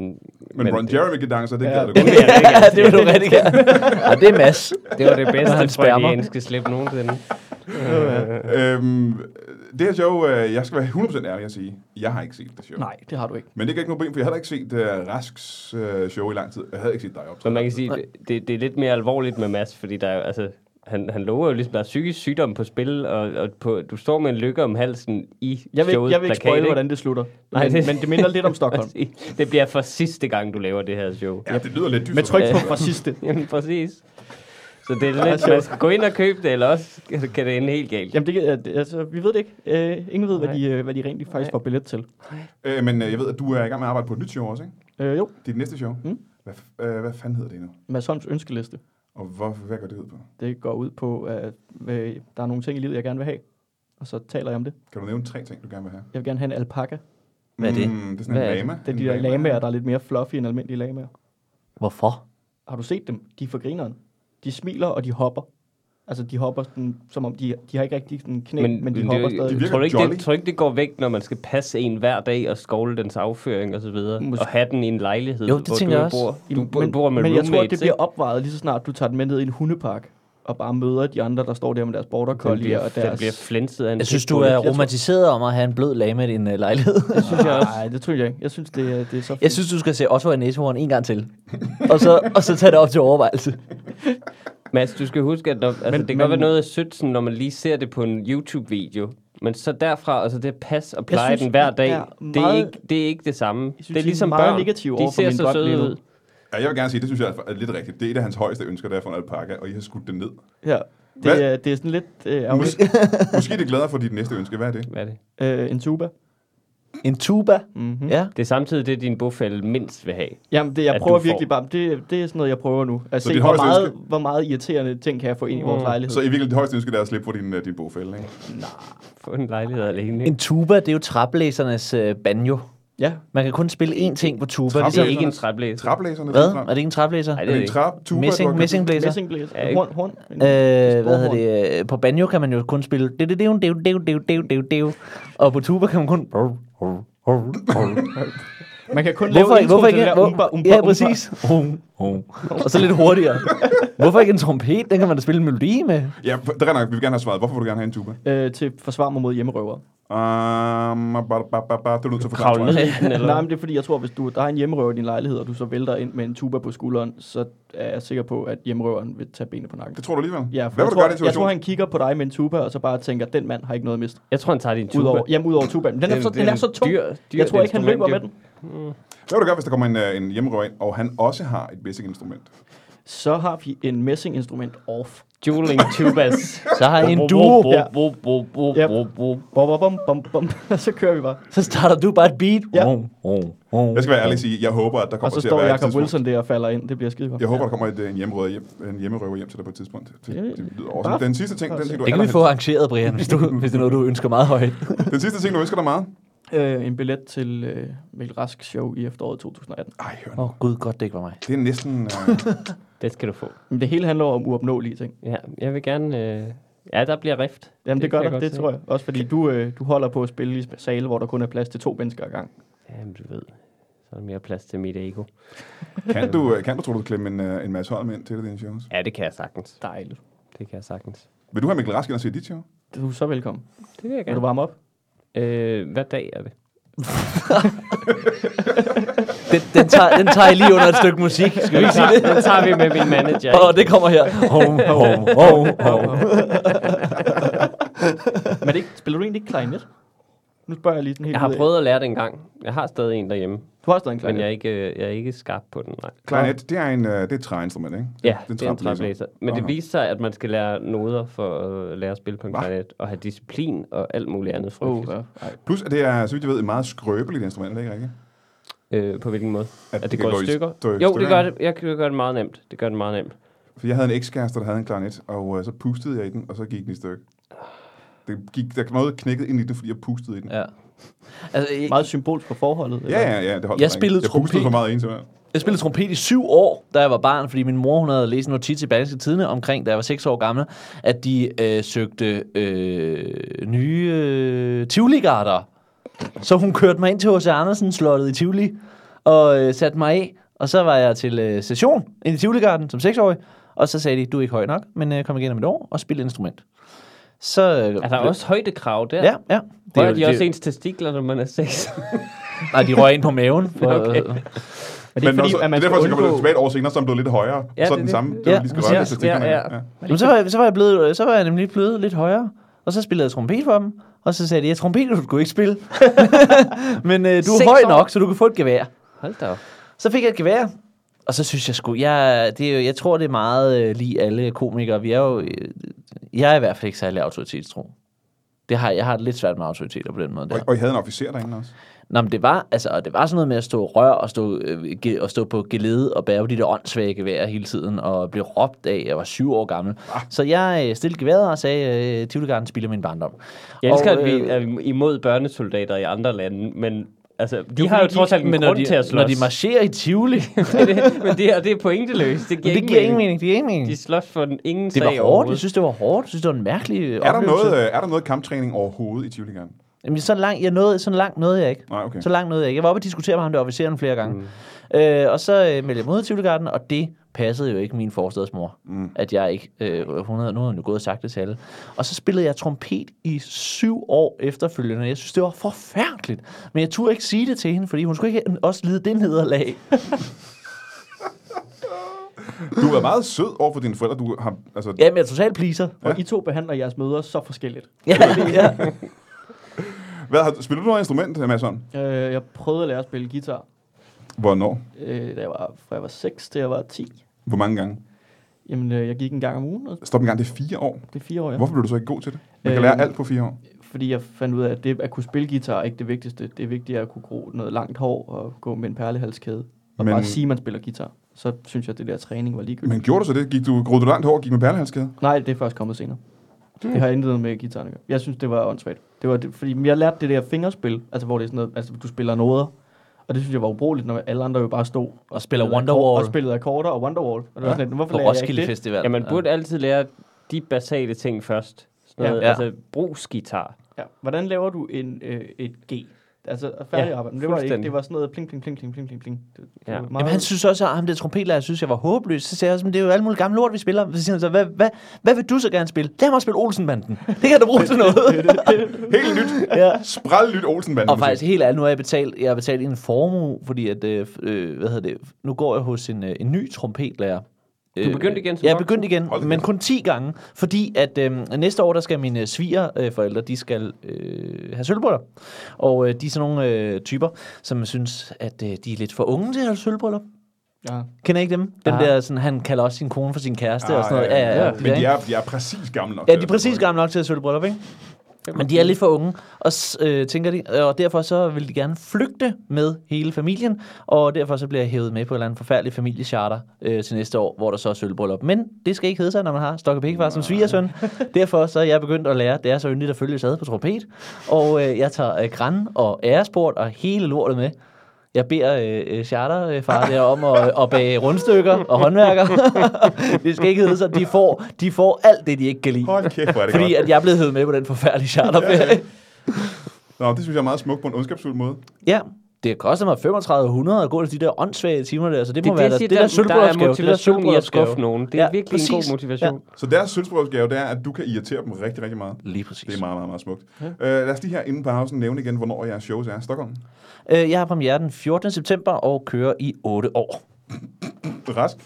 A: Men, Ron Jeremy kan danse, det
E: øh, Ja,
A: gad du
D: den
A: godt.
D: vil jeg rigtig gerne
B: Ja, det vil du rigtig gerne. Og det er Mads.
D: Det var det bedste,
B: Han
D: han
B: spærmer.
D: spærmer. skal slippe nogensinde.
A: Øhm, det her show, øh, jeg skal være 100% ærlig at sige, jeg har ikke set det show.
E: Nej, det har du ikke.
A: Men det kan ikke noget problem, for jeg havde ikke set uh, Rasks uh, show i lang tid. Jeg havde ikke set dig optræde.
D: Men man kan sige, det- det, det er lidt mere alvorligt med Mads, fordi der er jo, altså, han, han lover jo ligesom, der er psykisk sygdom på spil, og, og på, du står med en lykke om halsen i
E: Jeg vil,
D: showets
E: jeg vil ikke
D: plakat,
E: spoil, hvordan det slutter.
D: Nej,
E: Nej, men,
D: det-
E: det... men det minder lidt om Stockholm.
D: Præcis. Det bliver for sidste gang, du laver det her show.
A: Ja, det lyder lidt dyrt.
E: Med tryk på fra sidste.
D: Jamen, præcis. Så det er lidt, man skal gå ind og købe det, eller også kan det ende helt galt.
E: Jamen, det, kan- øh, altså, vi ved det ikke. Øh, ingen ved, hvad
D: Nej.
E: de, øh, hvad de rent faktisk
D: Nej.
E: får billet til.
A: Øh, men øh, jeg ved, at du er i gang med at arbejde på et nyt show også, ikke?
E: Øh, jo,
A: Dit næste show.
E: Mm.
A: Hvad, f- øh, hvad fanden hedder det nu?
E: Mads Holms ønskeliste.
A: Og hvor, hvad går det ud på?
E: Det går ud på, at øh, der er nogle ting i livet, jeg gerne vil have. Og så taler jeg om det.
A: Kan du nævne tre ting, du gerne vil have?
E: Jeg vil gerne have en alpaka.
B: Hvad er det?
A: Mm, det er sådan
D: Hvad er
A: en
D: det?
A: lama.
E: Det er de
A: En
E: der
A: lama.
E: lamaer, der er lidt mere fluffy end almindelige lamaer.
B: Hvorfor?
E: Har du set dem? De er for grineren. De smiler, og de hopper. Altså, de hopper sådan, som om de, de har ikke rigtig sådan knæ, men, men de hopper
D: det,
E: stadig.
A: de virker
D: tror, du ikke,
A: jolly.
D: det, tror du ikke, det går væk, når man skal passe en hver dag og skovle dens afføring og så videre,
E: Måske.
D: og have den i en lejlighed,
B: Jo, det
D: hvor
B: tænker
D: du
B: jeg også.
D: bor. Du
E: Jamen,
D: bo- bor med
E: men jeg
D: roommates,
E: tror, det bliver
D: ikke?
E: opvejet lige så snart, du tager den med ned i en hundepark og bare møder de andre, der står der med deres border
D: Den
E: collie
D: bliver,
E: og
D: den
E: deres...
D: bliver flænset af en
B: Jeg synes, du
D: pitbull.
B: er romantiseret om at have en blød lame i din øh, lejlighed.
E: det synes jeg også. Nej, det tror jeg ikke. Jeg synes, det, er- det er så fint.
B: Jeg synes, du skal se Oswald Næsehorn en gang til. Og så, og så tage det op til overvejelse.
D: Mads, du skal huske, at når, altså, men, det kan
E: men-
D: godt være noget af sødt, sådan, når man lige ser det på en YouTube-video. Men så derfra, altså det pas og pleje
E: synes,
D: den hver
E: I
D: dag,
E: er
D: det, er
E: meget-
D: ikke, det er ikke det samme.
E: synes,
D: det er
E: I er
D: ligesom
E: meget
D: børn.
E: negative
D: de
E: over for
D: ser
E: min
D: så
E: drøm lige
D: søde
E: nu.
D: ud.
A: Ja, jeg vil gerne sige, det synes jeg er lidt rigtigt. Det er et af hans højeste ønsker, der for en alpaka, og I har skudt det ned.
E: Ja,
A: Hvad?
E: det, er, det er sådan lidt øh, ærgerligt.
A: Måske, måske det glæder for dit næste ønske. Hvad er det?
D: Hvad er det?
E: øh, en tuba.
B: En tuba.
E: Mm-hmm.
B: Ja.
D: det er samtidig det, din bofælde mindst vil have.
E: Jamen, det, jeg
D: At
E: prøver
D: du får-
E: virkelig bare... Det, det er sådan noget, jeg prøver nu. At
A: Så
E: se,
A: dit
E: hvor
A: højeste
E: meget,
A: ønske-
E: hvor meget irriterende ting kan jeg få ind i vores
D: Mm.
E: lejlighed.
A: Så i virkeligheden det højeste ønske, der er at slippe for din, øh, din bogfælde, ikke?
D: Få en lejlighed alene.
B: En tuba, det er jo træblæsernes øh, banjo.
E: Ja,
B: Man kan kun spille én ting på tuba.
A: Trap-
B: Trap-
D: Det er
A: Traplæserne.
D: ikke en træblæser.
A: Traplæserne.
B: Hvad? Er det ikke en traplæser?
D: Nej,
A: Er
D: det er
A: det
D: det
A: en
D: ikke.
A: trap? Tuba,
B: Messing,
A: du har
B: messing
A: købt?
B: blazer.
D: Ja,
E: messingblæser.
D: ikke-
E: Horn, horn. En-
B: Øh, hvad
E: storhorn.
B: hedder det? øh, På banjo kan man jo kun spille... du-du-du, du-du-du, du-du-du, du-du. Og på tuba kan man kun...
E: Man kan kun
B: Hvorfor,
E: lave
B: hvorfor
E: introen til
B: ikke?
E: det der
B: Hvor,
E: umba, umba,
B: ja,
E: umba.
B: præcis. Og så lidt hurtigere. Hvorfor ikke en trompet? Den kan man da spille en melodi med.
A: Ja, det er nok. Vi vil gerne have svaret. Hvorfor vil du gerne have en tuba?
E: Øh, til forsvar mig mod hjemmerøvere.
A: Um, ba, ba, ba, ba. Det er du nødt til at forklare, tror
D: Kravle ned
A: jeg.
D: i den, eller
E: Nej, men det er fordi, jeg tror, hvis du, der er en hjemmerøver i din lejlighed, og du så vælter ind med en tuba på skulderen, så er jeg sikker på, at hjemmerøveren vil tage benene på nakken.
A: Det tror du alligevel.
E: Ja, for
A: Hvad
E: jeg,
A: vil du gøre i den
E: tror, jeg tror,
A: situation?
E: han kigger på dig med en tuba, og så bare tænker, den mand har ikke noget at miste.
D: Jeg tror, han tager din tuba.
E: Udover, jamen, udover tubaen. Men Den,
D: Det
E: er, så, den er så tung.
D: dyr- dyrt
E: jeg tror ikke, han løber
D: instrument,
E: med
D: jo.
E: den.
A: Hvad vil du gøre, hvis der kommer en, øh, en hjemmerøver ind, og han også har et messinginstrument?
E: Så har vi en messinginstrument off.
D: Dueling tubas.
B: Så har jeg en duo.
E: Ja.
D: Bo, bo, bo,
E: Yep.
D: bo, bo.
E: Bom, bom, bom, bom, bom. Og så kører vi bare.
B: Så starter du bare et beat.
E: Ja.
A: Jeg skal være ærlig og sige, jeg håber, at der
E: Og
A: kommer
E: så
A: til at
E: står
A: være et
E: Jacob
A: tidspunkt.
E: Wilson der og falder ind. Det bliver skide godt.
A: Jeg håber, der kommer et, øh, en, hjemmerøver hjem, en hjemmerøver hjem til dig på et tidspunkt. Det,
E: Ja,
A: det lyder awesome. Den sidste ting, den ting, du
B: Det kan vi få arrangeret, Brian, hvis, du, hvis det er noget, du ønsker meget højt.
A: allerhelst- den sidste ting, du ønsker dig meget?
E: Øh, en billet til øh, Mikkel Rask show i efteråret 2018.
A: Ej, hør
B: Åh
A: nu.
B: oh, gud, godt det ikke var mig.
A: Det er næsten... Øh,
D: Det skal du få.
E: Men det hele handler om uopnåelige ting.
D: Ja, jeg vil gerne... Øh... Ja, der bliver rift.
E: Jamen det, det
D: kan
E: gør
D: jeg
E: der,
D: godt
E: det
D: se.
E: tror jeg. Også fordi du, øh, du holder på at spille i sale, hvor der kun er plads til to mennesker ad gang.
D: Jamen, du ved. Så er der mere plads til mit ego.
A: kan, du, øh, kan du tro, du kan klemme en, øh, en masse Holm ind til dine shows?
D: Ja, det kan jeg sagtens.
E: Dejligt.
D: Det kan jeg sagtens.
A: Vil du have Mikkel Rask ind og se dit show?
E: Du er så velkommen.
D: Det vil jeg
E: Vil du
D: gerne.
E: varme op?
D: Øh, hvad dag er det?
B: Den, den, tager, den tager I lige under et stykke musik. Skal vi ikke sige det?
D: Den tager vi med min manager.
B: Åh, oh, det kommer her. Home, home, home, home.
E: Men det er ikke, spiller du egentlig ikke klarinet? Nu spørger jeg lige sådan helt
D: Jeg har
E: ud af-
D: prøvet at lære det en gang. Jeg har stadig en derhjemme,
E: Du har stadig en
D: men
E: klarinet.
D: jeg er ikke, øh, jeg er ikke skarp på den. Nej.
A: Klarinet, det er, en, øh, det er et træinstrument, ikke?
D: Ja,
A: Den
D: det er en
A: træblæser.
D: træblæser. Men
A: Nå, nå.
D: det viste sig, at man skal lære noder for at lære at spille på en
A: Hva?
D: klarinet, og have disciplin og alt muligt andet
E: Oh,
D: frygteligt.
E: ja.
A: Plus, at det er, så vidt jeg ved, et meget skrøbeligt instrument, er det ikke rigtigt?
D: Øh, på hvilken måde? At,
A: det
D: det, det
A: kan
D: går
A: gå
D: i
A: i
D: stykker?
A: stå- i
D: jo,
A: stykker,
D: det gør
A: ikke?
D: det. Jeg kan gøre det meget nemt. Det gør det meget nemt.
A: For jeg havde en ekskæreste, der havde en klarinet, og øh, så pustede jeg i den, og så gik den i stykker. Det gik, der noget knækket ind i den, fordi jeg pustede i den. Ja,
B: Ja. Altså, jeg,
E: Meget symbolsk for forholdet. eller?
A: ja, ja, det holdt
B: Jeg
A: mig
B: spillede
A: ikke. Jeg pustede
B: trompet.
A: for meget ind til mig.
B: jeg spillede trompet i syv år, da jeg var barn, fordi min mor hun havde læst en notit i Berlingske Tidene omkring, da jeg var seks år gammel, at de øh, søgte øh, nye øh, tivoligarter. Så hun kørte mig ind til H.C. Andersen slottet i Tivoli og øh, satte mig af. Og så var jeg til øh, session ind i Tivoligarden som seksårig. Og så sagde de, du er ikke høj nok, men øh, kom igen om et år og spil instrument. Så, øh,
D: Er Altså, der også højdekrav der?
B: Ja, ja.
D: Det er
B: jo-
D: de også ens testikler, når man er seks.
B: Nej, de røg ind på maven. For,
D: Okay.
E: Er det,
A: Men
E: ikke fordi,
A: også,
E: at man
A: det er derfor, jeg
E: skal
A: kommer det
E: undgå...
A: tilbage et år senere, så er den blevet lidt højere.
D: Ja,
A: så er
D: det
A: den
D: er
A: samme,
D: det.
A: det var
B: Ja,
A: lige skal
B: præcis.
A: røre til stiklerne.
D: Ja, ja.
B: Jamen, så, var jeg, så, var jeg blevet, så var jeg nemlig blevet lidt højere, og så spillede jeg trompet for dem. Og så sagde de, ja, trompet du kunne ikke spille. Men øh, du er
D: Seks
B: høj
D: år.
B: nok, så du kan få et gevær.
D: Hold da op.
B: Så fik jeg et gevær, og så synes jeg sgu, jeg, det er jo, jeg tror, det er meget øh, lige alle komikere. Vi er jo, øh, jeg er i hvert fald ikke særlig autoritetstro. Det har, jeg har det lidt svært med autoriteter på den måde. Der.
A: Og, og I havde en officer derinde også.
B: Nå, men det var, altså, og det var sådan noget med at stå og rør og stå, øh, ge- og stå på gelede og bære på de der åndssvage geværer hele tiden og blev råbt af, jeg var syv år gammel. Så jeg øh, stillede geværet og sagde, øh, Tivoligarden spiller min barndom.
D: Jeg elsker,
B: Og,
D: at vi
B: øh,
D: er imod børnesoldater i andre lande, men altså, de
B: det
D: har jo
B: fordi,
D: trods alt en
B: men når
D: grund
B: de,
D: til at slås.
B: Når de marcherer i Tivoli, det
D: Det er det, men det, og det er pointeløst. Det giver,
B: giver ingen mening. Det giver ingen
D: De
B: mening.
D: slås for den ingen
B: Det
D: sag
B: var hårdt. Jeg synes, det var hårdt. Jeg synes, det var en mærkelig øh,
A: Er der,
B: oplevelse.
A: noget, øh, er der noget kamptræning overhovedet i Tivoli Garden?
B: Jamen, så langt, jeg nåede, så langt nåede jeg ikke.
A: Nej, okay.
B: Så langt nåede jeg ikke. Jeg var oppe og diskutere med ham der officeren flere gange. Mm. Øh, og så øh, meldte jeg mod Tivoligarden, og det passede jo ikke min forstadsmor. Mm. At jeg ikke... Øh, hun havde, nu havde hun jo gået og sagt det til alle. Og så spillede jeg trompet i syv år efterfølgende. Jeg synes, det var forfærdeligt. Men jeg turde ikke sige det til hende, fordi hun skulle ikke også lide det nederlag.
A: Du har været meget sød over for dine forældre. Du har, altså,
B: Jamen, jeg er totalt pleaser.
E: Og I to behandler jeres møder så forskelligt.
B: Ja, ja.
A: hvad, har, spiller du noget instrument, Mads Holm?
E: Øh, jeg prøvede at lære at spille guitar,
A: Hvornår?
E: øh, da jeg var, fra jeg var 6 til jeg var 10.
A: Hvor mange gange?
E: Jamen, øh, jeg gik en gang om ugen, og
A: Stop en gang, det er fire år.
E: det er fire år, ja.
A: Hvorfor blev du så ikke god til det? Man kan
E: Øh,
A: lære alt på fire år.
E: Fordi jeg fandt ud af, at det at kunne spille guitar er ikke det vigtigste. Det er vigtigt at kunne gro noget langt hår og gå med en perlehalskæde. Og
A: Men-
E: Men... bare sige, at man spiller guitar. Så synes jeg, at det der træning var ligegyldigt.
A: Men
E: Men...
A: gjorde du så det? Gik du, groede du langt hår og gik med perlehalskæde?
E: Nej, det er først kommet senere. Det har intet med guitar at gøre. Jeg synes, det var åndssvagt. Det var det, fordi jeg lærte det der fingerspil, altså hvor det er sådan noget, altså du spiller noder,
C: Og det synes jeg var ubrugeligt, når alle andre jo bare stod
B: Og spiller
C: spillede
B: Wonderwall.
C: akkor- Og spillede akkorder og Wonderwall. Og det
A: Ja.
C: var sådan, lidt, hvorfor
B: På
C: lærer jeg ikke
B: Roskilde
C: det?
B: Festival.
D: Ja, man burde altid lære de basale ting først. Sådan noget,
B: Ja.
D: ja. Altså, brugsgitar.
C: Ja. Hvordan laver du en, øh, et G? Altså, færdig
D: Ja,
C: ja, arbejde. Men det var det ikke.
D: fuldstændig.
C: Det var sådan noget pling, pling, pling, pling, pling, pling, pling. Det, det
D: Ja.
C: var
D: Jamen,
B: Jamen, han synes også, at ham der trompetlærer synes, jeg var håbløs. Så sagde jeg også, men det er jo alle mulige gamle lort, vi spiller. Så siger han så, hvad, hvad, hvad vil du så gerne spille? Lad mig spille Olsenbanden. Det kan du bruge til noget.
A: Helt nyt.
B: ja.
A: Spræl nyt Olsenbanden.
B: Og faktisk helt ærligt, nu har jeg betalt, jeg har betalt en formue, fordi at, øh, øh, hvad hedder det, nu går jeg hos en, øh, en ny trompetlærer. Øh,
D: begyndte igen som
B: Jeg
D: voksen?
B: begyndte igen,
A: Hold da
B: men
A: kæft.
B: kun 10 gange, fordi at øh, næste år, der skal mine svigerforældre, de skal øh, have sølvbrøller. Og øh, de er sådan nogle øh, typer, som synes, at øh, de er lidt for unge til at have sølvbrøller.
C: Ja.
B: Kender I ikke dem? Dem
D: Ah.
B: der, sådan, han kalder også sin kone for sin kæreste ah, og sådan noget. Ja, ja, ja.
A: Men de er, de er præcis gamle nok.
B: Ja,
A: til
B: de er
A: at-
B: præcis gamle nok til at sølge bryllup, ikke? Men de er lidt for unge, og s- øh, tænker de, og derfor så vil de gerne flygte med hele familien, og derfor så bliver jeg hævet med på en eller anden forfærdelig familiecharter øh, til næste år, hvor der så er sølvbryllup. Men det skal ikke hedde sig, når man har Stokke Pikkefar som svigersøn. Derfor så er jeg begyndt at lære, det er så yndigt at følge sad på trompet, og øh, jeg tager øh, græn og æresport og hele lortet med. Jeg beder øh, øh, charterfar der om at, at bage rundstykker og håndværker. det skal ikke hedde sig. De får, de får alt det, de ikke kan lide.
A: Hold kæft, hvor er det
B: Fordi
A: Fordi godt.
B: at jeg blev hævet med på den forfærdelige charterferie.
A: Nå, det synes jeg er meget smukt på en ondskabsfuld måde.
B: ja, det koster mig 3500 at gå til de der åndssvage timer der, så det må
D: er
B: være der,
D: jeg
B: det
D: siger,
B: der,
D: der er
B: sølvbryllupsgave. Det der
D: motivation i at
B: sølvbryllupsgave.
D: skuffe nogen. Det er
B: Ja,
D: ja, virkelig en
B: præcis.
D: god motivation.
A: Så deres sølvbrødsgave, det er, at du kan irritere dem rigtig, rigtig meget.
B: Lige præcis.
A: Det er meget, meget, meget smukt. Ja. Øh, lad os lige her inden pausen nævne igen, hvornår jeres shows er. Stockholm.
B: Øh, jeg har premiere den 14. september og kører i 8 år.
A: Rask.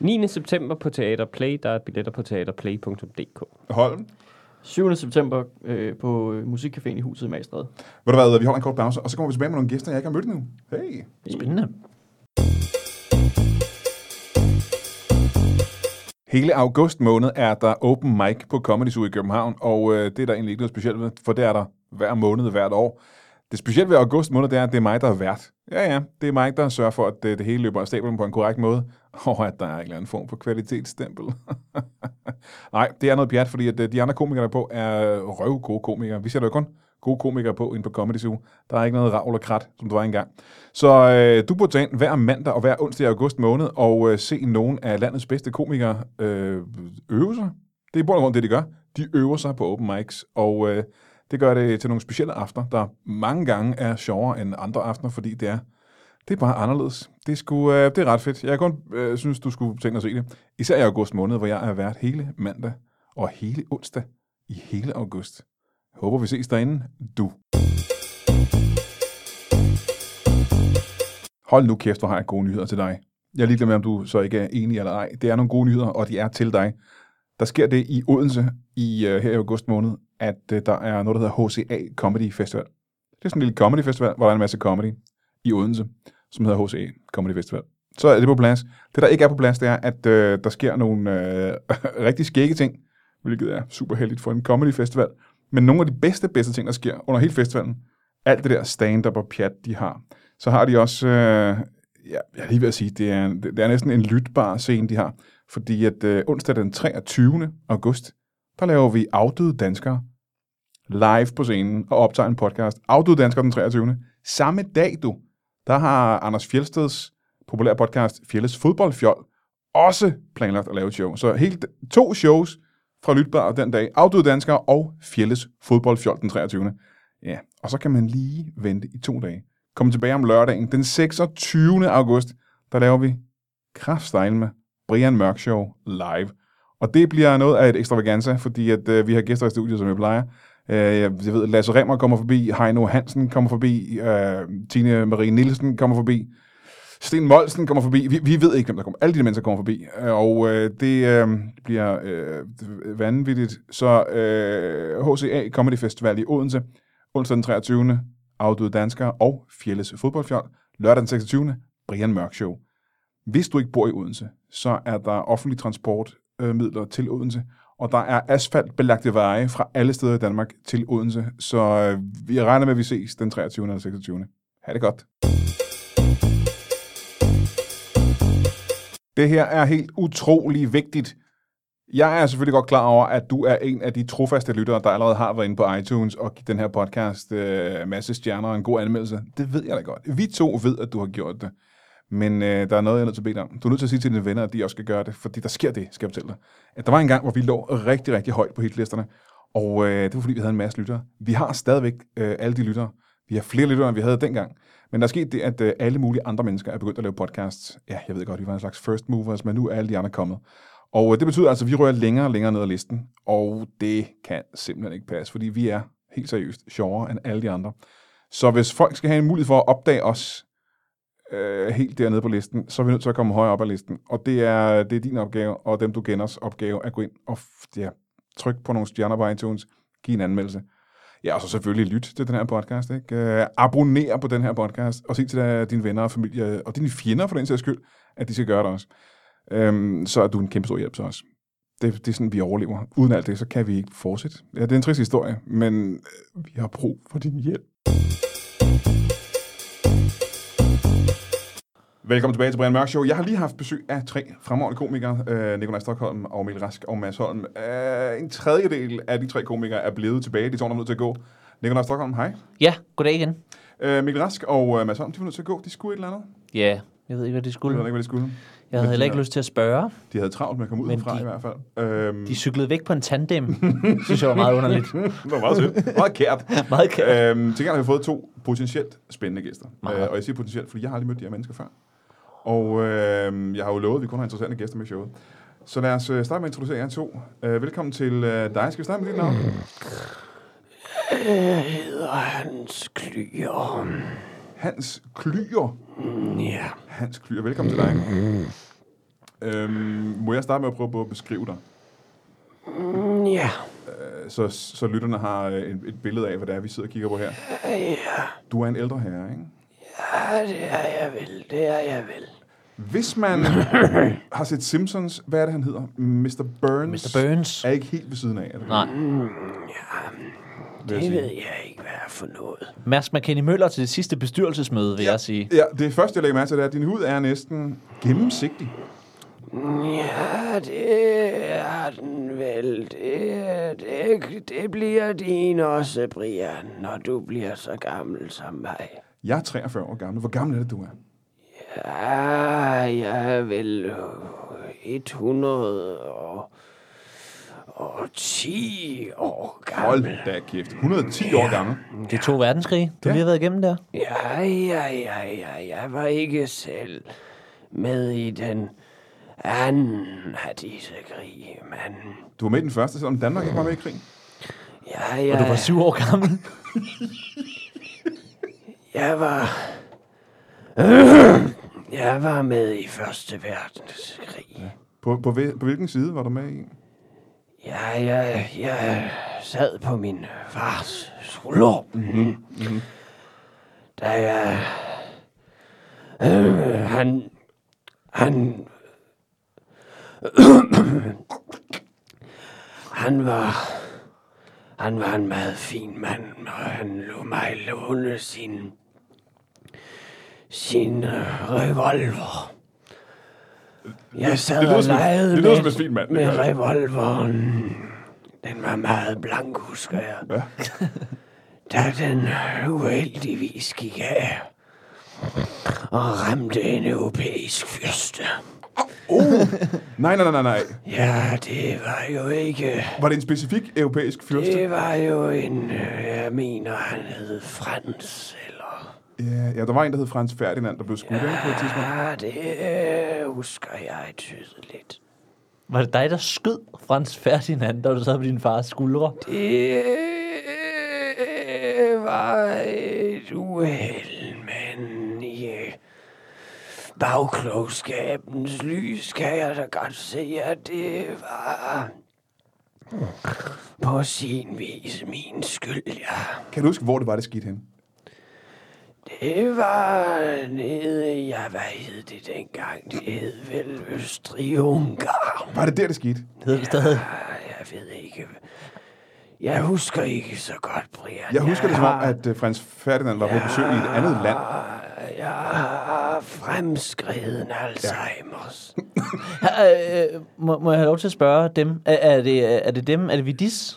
D: 9. september på Teater Play. Der er billetter på teaterplay.dk.
A: Holm.
C: 7. september øh, på øh, Musikcaféen i huset i Magstræde.
A: Ved du hvad, vi holder en kort pause, og så kommer vi tilbage med nogle gæster, jeg ikke har mødt nu. Hey.
B: Spændende.
A: Hele august måned er der open mic på Comedy Zoo i København, og øh, det er der egentlig ikke noget specielt ved, for det er der hver måned hvert år. Det specielle ved august måned, det er, at det er mig, der er vært. Ja, ja, det er mig, der sørger for, at øh, det, det hele løber af stablen på en korrekt måde, og at der er en eller anden form for kvalitetsstempel. Nej, det er noget pjat, fordi at øh, de andre komikere, der er på, er røv gode komikere. Vi sætter jo kun gode komikere på inde på Comedy Zoo. Der er ikke noget ravl og krat, som du var engang. Så øh, du burde tage ind hver mandag og hver onsdag i august måned og øh, se nogle af landets bedste komikere øh, øve sig. Det er i bund og grund det, de gør. De øver sig på open mics, og øh, det gør det til nogle specielle aftener, der mange gange er sjovere end andre aftener, fordi det er det er bare anderledes. Det er, sgu, øh, det er ret fedt. Jeg kan kun øh, synes, du skulle tænke dig at se det. Især i august måned, hvor jeg er vært hele mandag og hele onsdag i hele august. Håber, vi ses derinde. Du. Hold nu kæft, hvor har jeg gode nyheder til dig. Jeg er ligeglad med, om du så ikke er enig eller ej. Det er nogle gode nyheder, og de er til dig. Der sker det i Odense i øh, her i august måned, at øh, der er noget, der hedder HCA Comedy Festival. Det er sådan en lille comedy festival, hvor der er en masse comedy i Odense, som hedder HCA Comedy Festival. Så er det på plads. Det, der ikke er på plads, det er, at øh, der sker nogle øh, rigtig skægge ting, hvilket er super heldigt for en comedy festival. Men nogle af de bedste, bedste ting, der sker under hele festivalen, alt det der stand-up og pjat, de har. Så har de også, øh, ja, jeg er lige ved at sige, det er, det er næsten en lytbar scene, de har. Fordi at øh, onsdag den 23. august, der laver vi afdøde danskere live på scenen og optager en podcast. Afdøde danskere den 23. Samme dag, du, der har Anders Fjelsteds populære podcast Fjelles Fodboldfjol også planlagt at lave et show. Så helt to shows fra Lytbar den dag. Afdøde danskere og Fjelles Fodboldfjol den 23. Ja, og så kan man lige vente i to dage. Kom tilbage om lørdagen den 26. august, der laver vi Kraftstejl med Brian Mørk Show live. Og det bliver noget af et ekstravaganza, fordi at, øh, vi har gæster i studiet, som jeg plejer. Øh, jeg jeg ved, Lasse Remmer kommer forbi, Heino Hansen kommer forbi, øh, Tine Marie Nielsen kommer forbi, Sten Molsen kommer forbi. Vi, vi ved ikke, hvem der kommer. Alle de der mennesker kommer forbi. Øh, Og øh, det øh, bliver øh, vanvittigt. Så øh, HCA Comedy Festival i Odense, onsdag den 23. Afdøde Danskere og Fjelles Fodboldfjold. Lørdag den 26. Brian Mørk Show. Hvis du ikke bor i Odense, så er der offentlig transportmidler til Odense, og der er asfaltbelagte veje fra alle steder i Danmark til Odense. Så øh, vi regner med, at vi ses den 23. eller 26. Ha' det godt. Det her er helt utrolig vigtigt. Jeg er selvfølgelig godt klar over, at du er en af de trofaste lyttere, der allerede har været inde på iTunes og givet den her podcast øh, masse stjerner og en god anmeldelse. Det ved jeg da godt. Vi to ved, at du har gjort det. Men øh, der er noget, jeg er nødt til at bede dig om. Du er nødt til at sige til dine venner, at de også skal gøre det, fordi der sker det, skal jeg fortælle dig. At der var en gang, hvor vi lå rigtig, rigtig højt på hitlisterne, og øh, det var fordi, vi havde en masse lyttere. Vi har stadigvæk øh, alle de lyttere. Vi har flere lyttere, end vi havde dengang. Men der er sket det, at øh, alle mulige andre mennesker er begyndt at lave podcasts. Ja, jeg ved godt, vi var en slags first movers, men nu er alle de andre kommet. Og øh, det betyder altså, at vi rører længere og længere ned ad listen, og det kan simpelthen ikke passe, fordi vi er helt seriøst sjovere end alle de andre. Så hvis folk skal have en mulighed for at opdage os, øh, helt dernede på listen, så er vi nødt til at komme højere op ad listen. Og det er, det er din opgave, og dem du kenders opgave, at gå ind og f- ja, trykke på nogle stjerner på iTunes, give en anmeldelse. Ja, og så selvfølgelig lyt til den her podcast. Ikke? Øh, abonner på den her podcast, og sig til øh, dine venner og familie, og dine fjender for den sags skyld, at de skal gøre det også. Øhm, så er du en kæmpe stor hjælp til os. Det, det er sådan, vi overlever. Uden alt det, så kan vi ikke fortsætte. Ja, det er en trist historie, men øh, vi har brug for din hjælp. Velkommen tilbage til Brian Mørk Show. Jeg har lige haft besøg af tre fremragende komikere, øh, Nikolaj Stockholm, og Emil Rask og Mads Holm. Øh, en tredjedel af de tre komikere er blevet tilbage. De to er nødt til at gå. Nikolaj Stockholm, hej.
B: Ja, goddag igen.
A: Øh, Mikkel Rask og øh, Mads Holm, de var nødt til at gå. De skulle et eller andet.
B: Ja, jeg ved ikke, hvad
A: Jeg
B: de
A: ved
B: skulle.
A: ikke, hvad de skulle.
B: Jeg havde heller ikke lyst til at spørge.
A: De havde travlt med at komme ud
B: Men
A: herfra
B: de-
A: i hvert fald. Øhm,
B: De cyklede væk på en tandem. Det synes jeg var meget underligt.
A: det var meget sødt. Meget kært.
B: Meget kært.
A: Øhm, til gengæld har vi fået to potentielt spændende gæster.
B: Meget.
A: Øh, og jeg siger potentielt, fordi jeg har aldrig mødt de her mennesker før. Og øh, jeg har jo lovet, at vi kun har interessante gæster med i showet. Så lad os øh, starte med at introducere jer to. Øh, velkommen til øh, dig. Skal vi starte med dit navn?
F: Hans klyer.
A: Hans Klyer.
F: Mm, Ja.
A: Hans Klyer, velkommen til dig. Øhm, må jeg starte med at prøve på at beskrive dig?
F: Mm, Ja.
A: Øh, Så, så lytterne har øh, et, et billede af, hvad det er, vi sidder og kigger på her. Du er en ældre herre, ikke?
F: Øh, Ja, det er jeg vel. Det er jeg vel.
A: Hvis man har set Simpsons, hvad er det, han hedder? Mr. Burns.
B: Mr. Burns.
A: Er ikke helt ved siden af. Er det,
B: Nej.
A: vil jeg sige.
F: jeg ikke, hvad er for noget.
B: Mads McKinney Møller til det sidste bestyrelsesmøde, vil jeg sige.
A: Ja, det første, jeg lægger mærke til, det er, at din hud er næsten gennemsigtig.
F: Ja, det er den vel. Det, det, det bliver din også, Brian, når du bliver så gammel som mig.
A: Jeg er 43 år gammel. Hvor gammel er det, du er?
F: Ja, jeg er vel øh, 100 og, og 10 år
A: Hold
F: gammel.
A: da kæft. 110 år gammel.
B: Det er to verdenskrige, du lige har været igennem der.
F: Ja, ja, ja, ja, jeg var ikke selv med i den anden af disse krige, men...
A: Du var med i den første, selvom Danmark ikke var med i krigen.
F: Ja,
B: Og
F: ja,
B: du var syv år gammel.
F: jeg var... Jeg var med i Første Verdenskrig.
A: På, på, hvil- på hvilken side var du med i?
F: Ja, jeg, jeg sad på min fars skulder. Mm-hmm. Da jeg... Øh, han... Han... han var... Han var en meget fin mand, og han lå mig låne sin... sin øh, revolver. Jeg sad
A: lyder
F: og
A: som en-
F: legede
A: det lyder som en fin mand, det
F: med
A: gør det.
F: revolveren. Den var meget blank, husker jeg.
A: Ja.
F: Da den uheldigvis gik af og ramte en europæisk fyrste.
A: Nej, nej, nej, nej, nej.
F: Ja, det var jo ikke...
A: Var det en specifik europæisk fyrste?
F: Det var jo en... øh, Jeg mener, han hed Frans, eller...
A: Ja, ja, der var en, der hed Frans Ferdinand, der blev skudt ikke, på et tidspunkt.
F: Ja, det øh, husker jeg tydeligt.
B: Var det dig, der skød Frans Ferdinand, da du sad på din fars skuldre?
F: Det øh, var et uheld, men i øh, bagklogskabens lys kan jeg da godt se, at det var på sin vis min skyld, ja.
A: Kan du huske, hvor det var, det skete hen?
F: Det var nede, ja, hvad hed det dengang? Det hed vel Østrig-Ungarn.
A: Var det der, det skete?
B: Det hedder vi stadig.
F: Ah, Jeg ved ikke. Jeg husker ikke så godt, Brian.
A: Jeg husker det som om,
F: har-
A: at øh, Frans Ferdinand var på besøg i et andet land.
F: Jeg har har Ah, fremskreden Alzheimer's. Ja.
B: Ha- øh, må, må jeg have lov til at spørge dem? Er, er, det, er det dem? Er det Vidis?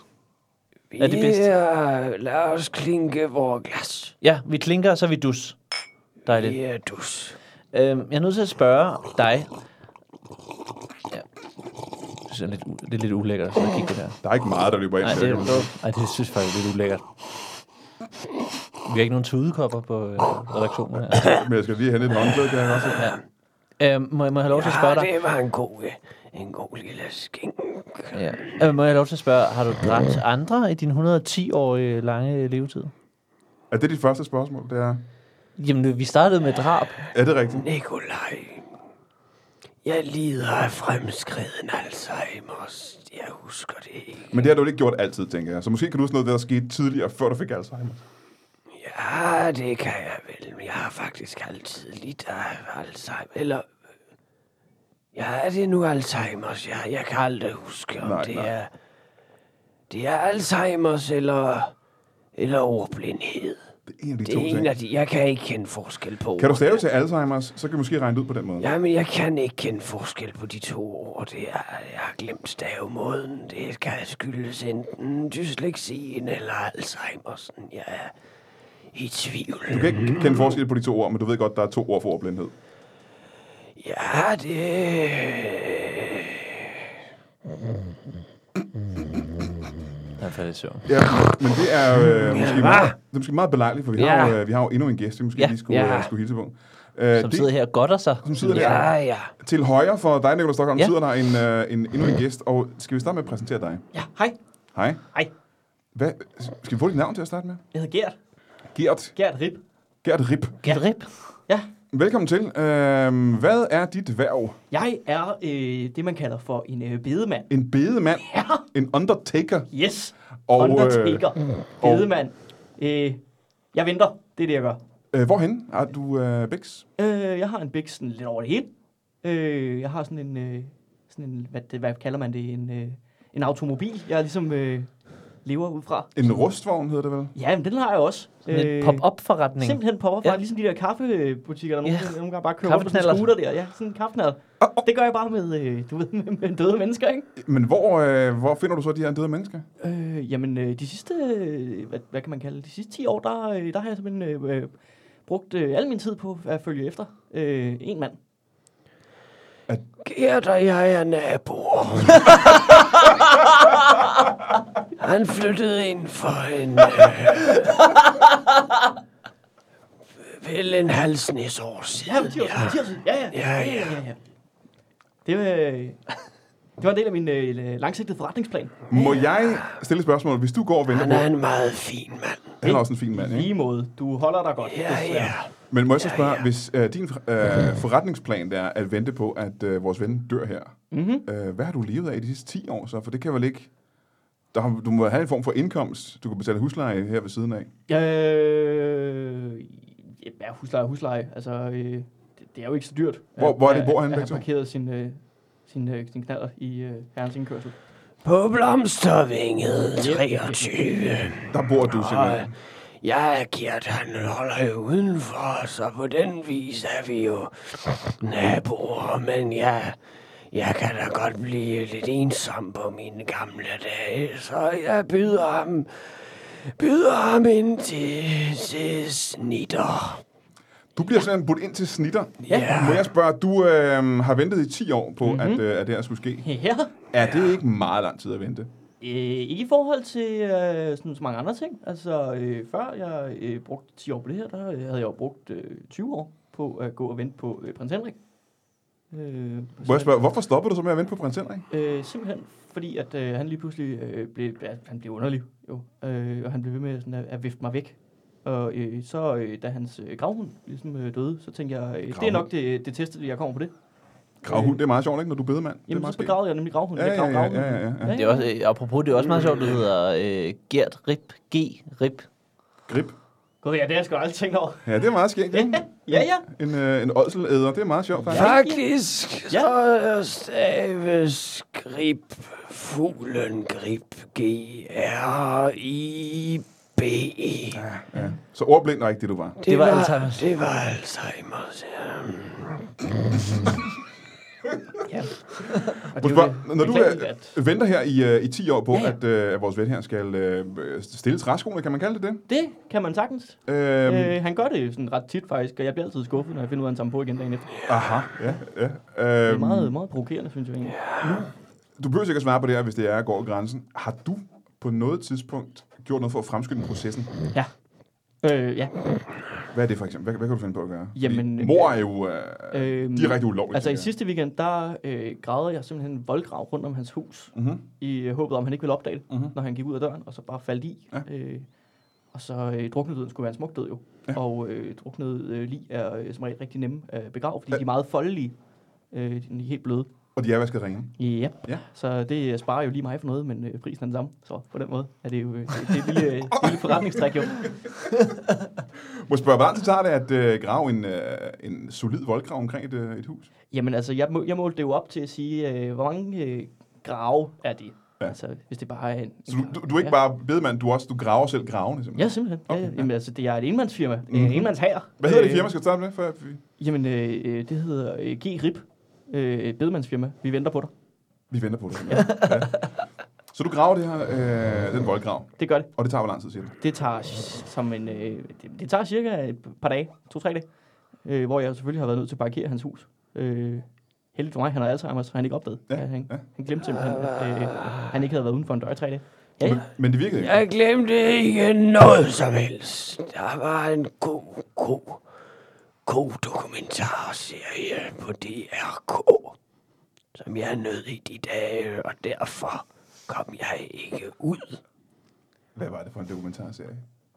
B: Er det bedst?
F: Ja, lad os klinke vores glas.
B: Ja, vi klinker, og så er vi dus. Dejligt.
F: Ja, dus.
B: Øhm, jeg er nødt til at spørge dig. Ja. Det er lidt, u- det er lidt ulækkert, så jeg kigger på det her.
A: Der er ikke meget, der løber ind.
B: Nej,
A: så
B: det,
A: jeg kan-
B: er, nej, det synes jeg faktisk er lidt ulækkert. Vi har ikke nogen tudekopper på øh, redaktionen her.
A: Men jeg skal lige hente et håndklæde, kan jeg også.
B: Øhm, må, jeg- må jeg have lov til at spørge dig?
F: Ah, var en god, en god lille skink.
B: Ja. Øh, må jeg have lov til at spørge, har du dræbt andre i din 110-årige lange levetid?
A: Er det dit første spørgsmål? Det er,
B: Jamen, vi startede med drab.
A: er det rigtigt?
F: Nikolaj, jeg lider af fremskreden Alzheimer's. Jeg husker det ikke.
A: Men det har du ikke gjort altid, tænker jeg. Så måske kan du huske noget, af det, der skete tidligere, før du fik Alzheimer.
F: Ja, Ah, det kan jeg vel, men jeg har faktisk altid lidt af Alzheimer. Eller, ja, er det nu Alzheimer's? Jeg, jeg kan aldrig huske, om
A: Nej,
F: det
A: nej.
F: er... Det er Alzheimer's eller, eller ordblindhed.
A: Det er en af de
F: Det
A: to
F: er en
A: ting.
F: af de... Jeg kan ikke kende forskel på
A: Kan du
F: ordene.
A: stave til Alzheimer's, så kan vi måske regne det ud på den måde.
F: Jamen, jeg kan ikke kende forskel på de to ord. Det er, jeg har glemt stavemåden. Det kan skyldes enten dyslexien eller Alzheimersen. Jeg er i tvivl.
A: Du kan ikke kende forskel på de to ord, men du ved godt, der er to ord for ordblindhed.
F: Ja, det...
B: Jeg faldt i søvn.
A: Ja, men det er, øh, måske,
F: Ja.
A: meget, det er måske meget belejligt, for vi, har,
F: Ja.
A: jo, øh, vi har jo endnu en gæst, vi måske
B: Ja.
A: lige skulle,
F: Ja.
A: øh, skulle hilse på. Øh,
B: Som
A: det-
B: sidder her og godter sig.
A: som sidder der.
F: Ja, ja.
A: Til højre for dig, Nicolai Stockholm, ja.
B: Ja.
A: sidder der en, øh, en, endnu en gæst, og skal vi starte med at præsentere dig?
E: Ja, hej.
A: Hej.
E: Hej.
A: Hvad, skal vi få dit navn til at starte med?
E: Jeg hedder Gert.
A: Gert.
E: Gert Rip.
A: Gert Rip.
B: Giv det rip.
E: Ja,
A: Velkommen til. Øh, hvad er dit værv?
E: jeg er øh, det, man kalder for en øh, bedemand.
A: En bedemand? Ja. En undertaker?
E: Yes,
A: Og,
E: og,
A: øh,
E: undertaker. Øh, bedemand. Øh, jeg venter. Det er det, jeg gør.
A: Øh, hvorhen er du, øh, Bix?
E: Øh, jeg har en bæk sådan lidt over det hele. Øh, jeg har sådan en, øh, sådan en hvad, det, hvad kalder man det, en, øh, en automobil, jeg ligesom øh, lever ud fra.
A: En rustvogn hedder det vel?
E: Ja, men den har jeg også. Øh,
B: Sådan
F: Øh,
B: en pop-up-forretning.
E: Simpelthen popper fra,
B: Ja.
E: ja. ligesom de der kaffebutikker, der nogle,
B: Ja.
E: yeah. nogle gange bare kører rundt på sådan
B: Kaffeknaller.
E: en scooter der. Ja, sådan en kaffeknald.
A: Åh, åh.
E: Det gør jeg bare med, øh, du ved, med, med døde mennesker, ikke?
A: Men hvor, øh, hvor finder du så de her døde mennesker?
E: Øh, jamen, øh, de sidste, øh, hvad, hvad kan man kalde det, de sidste 10 år, der, øh, der har jeg simpelthen øh, øh, brugt øh, al min tid på at følge efter øh, en mand.
F: Gert og jeg er naboer. Han flyttede ind for en... Øh, vel en halvsnes år
E: Ja, men
F: siden.
E: 10 år siden, 10 år siden. Ja, ja.
F: Ja,
E: ja. Det, øh, det var en del af min øh, langsigtede forretningsplan.
A: Må jeg stille et spørgsmål? Hvis du går og venter
F: Han
A: på...
F: er en meget fin mand.
A: Han er også en fin mand,
E: I
A: ikke?
E: lige måde. Du holder dig godt.
F: Ja,
E: desværre.
F: ja.
A: Men må jeg så spørge, hvis øh, din øh, forretningsplan er at vente på, at øh, vores ven dør her,
E: Mhm.
A: øh, hvad har du levet af i de sidste 10 år så? For det kan vel ikke... Der har, du må have en form for indkomst. Du kan betale husleje her ved siden af.
E: Øh, ja, husleje, husleje. Altså, øh, det, det er jo ikke så dyrt.
A: Hvor- hvor er det, I
E: at-
A: bor henne,
E: at- at
A: begge
E: have
A: to?
E: parkeret sin, øh, sin, øh, sin knaller i øh, herrens indkørsel.
F: På blomstervinget 23.
A: Der bor du
F: Og
A: simpelthen.
F: jeg er Gert, han holder jo udenfor, så på den vis er vi jo naboer, men jeg, jeg kan da godt blive lidt ensom på mine gamle dage, så jeg byder ham, byder ham ind til, til snitter.
A: Du bliver simpelthen budt ind til snitter.
F: Ja. Mhm.
A: Må jeg spørge, du øh, har ventet i 10 år på, mm-hmm. at, øh, at det her skulle ske.
E: Ja.
A: Er det ikke meget lang tid at vente?
E: Øh, ikke i forhold til øh, sådan, så mange andre ting. Altså, øh, før jeg øh, brugte 10 år på det her, der øh, havde jeg jo brugt øh, 20 år på at gå og vente på øh, prins Henrik. Øh,
A: Må jeg spørge, hvorfor stopper du så med at vente på prins Henrik?
E: Øh, simpelthen fordi, at øh, han lige pludselig øh, blev, ja, han blev underlig, jo. Øh, og han blev ved med sådan, at, at vifte mig væk. Og øh, så, øh, da hans øh, gravhund ligesom, øh, døde, så tænkte jeg, øh, det er
A: Gravhund?
E: nok det, det testede, jeg kommer på det.
A: Gravhund, det er meget sjovt, ikke, når du er bedemand? det er
E: Jamen,
A: meget
E: så begravede jeg nemlig gravhunden.
A: Ja,
E: jeg gravede
A: ja, ja, ja,
E: gravhunden.
A: ja, ja.
B: Det er også, øh, apropos, det er også meget sjovt, det hedder øh, Gert Rip. G. Rip.
A: skægt. Grip.
E: Gud, ja, det har jeg sgu aldrig tænkt over.
A: Ja, det er meget skægt, ikke?
E: Ja, ja.
A: En, øh, en ådselæder, det er meget sjovt, faktisk.
F: Faktisk så staves grib fuglen grib G-R-I-B. BE.
A: Ja. Så ordblind var ikke det, du var.
B: Det var Alzheimer's.
F: Det var Alzheimer's, ja.
G: Og det er jo det.
A: Hvor, når du
E: Beklageligt,
A: øh, venter her i, øh, i 10 år på,
E: Ja,
A: ja,
E: ja.
A: ja. At, øh, at vores ven her skal øh, stille træskoene, kan man kalde det det?
E: Det kan man sagtens.
A: Øhm, øh.
E: Øh, han gør det sådan ret tit faktisk, og jeg bliver altid skuffet, når jeg finder ud af, at han tager dem på igen dagen efter. Det
A: Aha, ja. ja.
E: er
A: Øhm,
E: meget, meget provokerende, synes jeg egentlig.
A: Du behøver sikkert svare på det her, hvis det er går over grænsen. Har du på noget tidspunkt gjort noget for at fremskynde processen?
E: Øh, ja.
A: Hvad er det for eksempel? Hvad, hvad kan du finde på at gøre?
E: Jamen,
A: Fordi mor er jo øh,
E: Øhm,
A: direkte ulovligt.
E: Altså i sidste weekend, der øh, gravede jeg simpelthen en voldgrav rundt om hans hus,
A: Mm-hmm.
E: i øh, håbet om, han ikke ville opdage det,
A: Mhm.
E: når han gik ud af døren, og så bare faldt i.
A: Ja.
E: Øh, og så øh, druknedøden skulle være en smuk død jo.
A: Ja.
E: Og øh, druknede øh, lige er øh, som regel rigtig nemme at begrave, fordi
A: Ja.
E: de er meget foldelige. Øh, de er helt bløde.
A: Og de er vasket rene.
E: Ja.
A: Ja.
E: Så det øh, sparer jo lige mig for noget, men øh, prisen er den samme. Så på den måde er det jo øh, det, det er et lille, øh, lille forretningstræk jo.
A: Må jeg spørge, hvordan så tager det at øh, grave en, øh, en solid voldgrav omkring et, øh, et hus?
E: Jamen altså, jeg, må, jeg målte det jo op til at sige, øh, hvor mange øh, grave er det?
A: Ja.
E: Ja. Altså, hvis det bare er en...
A: Så du, du, du er ikke bare bedemand, du, er også, du graver selv gravene simpelthen?
E: Ja, simpelthen. Okay. Ja,
A: Okay.
E: jamen altså, det er et enmandsfirma. Mm.
A: Mhm.
E: En enmandshager.
A: Hvad hedder det
E: Øh,
A: firma, skal du starte med? For, at vi,
E: Jamen, øh, øh, det hedder øh, G-RIP. Øh, bedemandsfirma. Vi venter på dig.
A: vi venter på det. simpelthen. Ja. Så du graver det her, øh, den voldgrav,
E: Det gør det.
A: og det tager hvor lang tid, siger du?
E: Det tager, s- som en, øh, det, det tager cirka et par dage. To-tre dage. Øh, hvor jeg selvfølgelig har været nødt til at parkere hans hus. Øh, heldigt for mig, han har Alzheimer, så han ikke opdaget.
A: Ja,
E: Ja, han,
A: ja.
E: ja. han glemte simpelthen, at øh, han ikke havde været uden for en dør i tre dage. Ja, ja.
A: Men, men det virkede ikke.
F: Jeg glemte ikke noget som helst. Der var en god, god, god dokumentarserie på DRK, som jeg nød i de dage, og derfor kom jeg ikke ud.
A: Hvad var det for en dokumentarserie?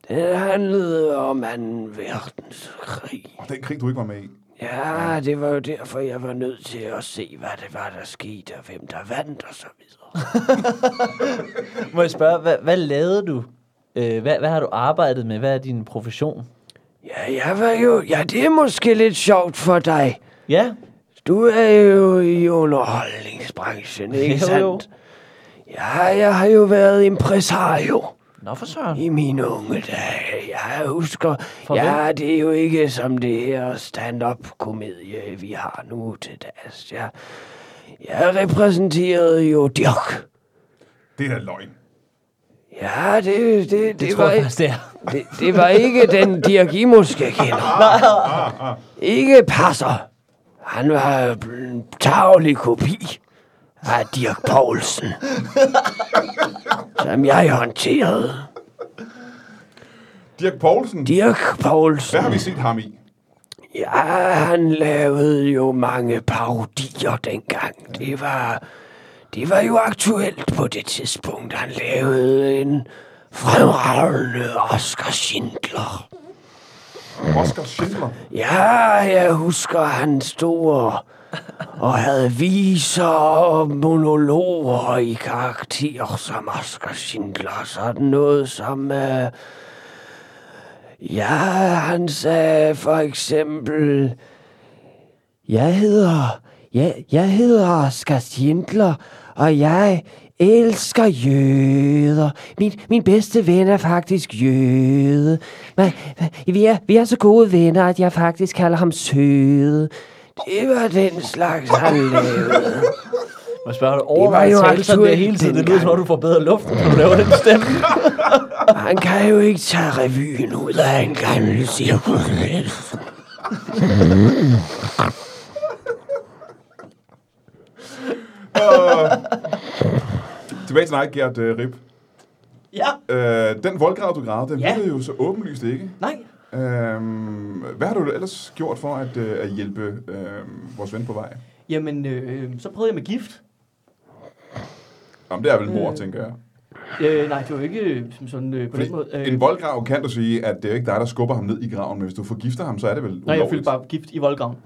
F: Det handlede om 2. verdenskrig.
A: Og den krig, du ikke var med i.
F: Ja, det var jo derfor, jeg var nødt til at se, hvad det var, der skete, og hvem der vandt, og så videre.
B: Må jeg spørge, hvad, hvad lavede du? Øh, hvad, hvad har du arbejdet med? Hvad er din profession?
F: Ja, jeg var jo... Ja, det er måske lidt sjovt for dig.
B: Ja,
F: Du er jo i underholdningsbranchen, ikke
B: Jo, jo.
F: sandt? Ja, jeg har jo været impresario
B: nå for søren.
F: i mine unge dage. Jeg husker...
B: For
F: ja, det er jo ikke som det her stand-up-komedie, vi har nu til dags. Jeg, jeg repræsenterede jo Dirk.
A: Det er da løgn.
F: Ja, det, det, det,
B: Det, det tror
F: var...
B: jeg faktisk, det er.
F: Det, det var ikke den Dirk I måske kender. Ikke passer. Han var en tavlig kopi af Dirk Poulsen, som jeg håndterede.
A: Dirk Poulsen,
F: Dirk
A: hvad
F: Poulsen,
A: har vi set ham i?
F: ja, han lavede jo mange parodier dengang. Det var, det var jo aktuelt på det tidspunkt. Han lavede en fremragende Oscar Schindler.
A: Oscar Schindler.
F: Ja, jeg husker, han stod og, og havde viser og monologer i karakterer som Oscar Schindler. Sådan noget som... Øh, ja, han sagde for eksempel... Jeg hedder... Jeg, jeg hedder Oscar Schindler, og jeg elsker jøder. Min, min bedste ven er faktisk jøde. Men, vi, er, vi er så gode venner, at jeg faktisk kalder ham søde. Det var den slags, han lavede.
B: Må jeg spørge, har du
F: jo
B: overvejet salserne der
F: aktuelt
B: hele tiden? Det lyder
F: dengang.
B: som om, du får bedre luft, når du laver den stemme.
F: Han kan jo ikke tage revyen ud af en gammel cirkus.
A: Tilbage til dig, Gert øh, Rip.
E: ja.
A: Øh, den voldgrav, du gravede, den
E: Ja.
A: virkede jo så åbenlyst ikke.
E: nej.
A: Øhm, hvad har du ellers gjort for at, øh, at hjælpe øh, vores ven på vej?
E: Jamen, øh, så prøvede jeg med gift.
A: Jamen, det er vel mor, tænker jeg.
E: Øh, nej, det var jo ikke øh, som sådan øh, på
A: Fordi
E: den måde.
A: en voldgrav kan du sige, at det er jo ikke dig, der skubber ham ned i graven, men hvis du forgifter ham, så er det vel ulovligt.
E: Nej, jeg fyldte bare gift i voldgraven.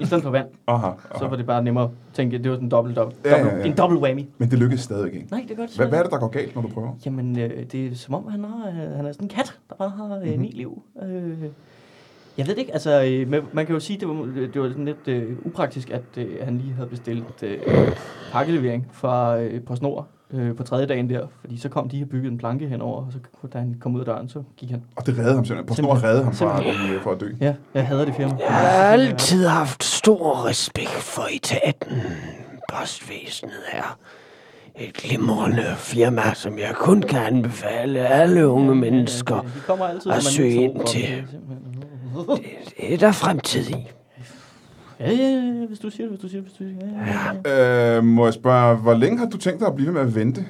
E: I stedet for vand.
A: Aha,
E: Så var
A: aha.
E: det bare nemmere at tænke, at det var sådan en dobbelt, dobbelt,
A: Ja,
E: ja,
A: ja, ja.
E: dobbelt en dobbelt whammy.
A: Men det lykkedes stadig ikke.
E: Nej, det gør det
A: Hvad,
E: simpelthen
A: hvad er det, der går galt, når du prøver?
E: ikke. Jamen, øh, det er som om, han, har, øh, han er sådan en kat, der bare har
A: Mhm.
E: øh, ni liv. Øh, jeg ved det ikke, altså, øh, men man kan jo sige, det var, det var sådan lidt øh, upraktisk, at øh, han lige havde bestilt øh, pakkelevering fra øh, PostNord øh, på tredje dagen der, fordi så kom de og byggede en planke henover, og så da han kom ud af døren, så gik han.
A: Og det redde ham simpelthen. På snor redde ham fra, at, øh, fra at dø.
E: Ja, jeg hader det firma.
F: Jeg har altid haft stor respekt for etaten. Postvæsenet er et glimrende firma, som jeg kun kan anbefale alle unge mennesker.
E: De kommer altid,
F: at
E: når man
F: søge
E: ikke
F: ind
E: tror på
F: til.
E: dem, simpelthen.
F: Det er der fremtid i.
E: Ja, ja, ja, ja, hvis du siger det, hvis du siger det, hvis du siger det. Ja, ja, ja.
A: Øh, må jeg spørge, hvor længe har du tænkt dig at blive ved med at vente?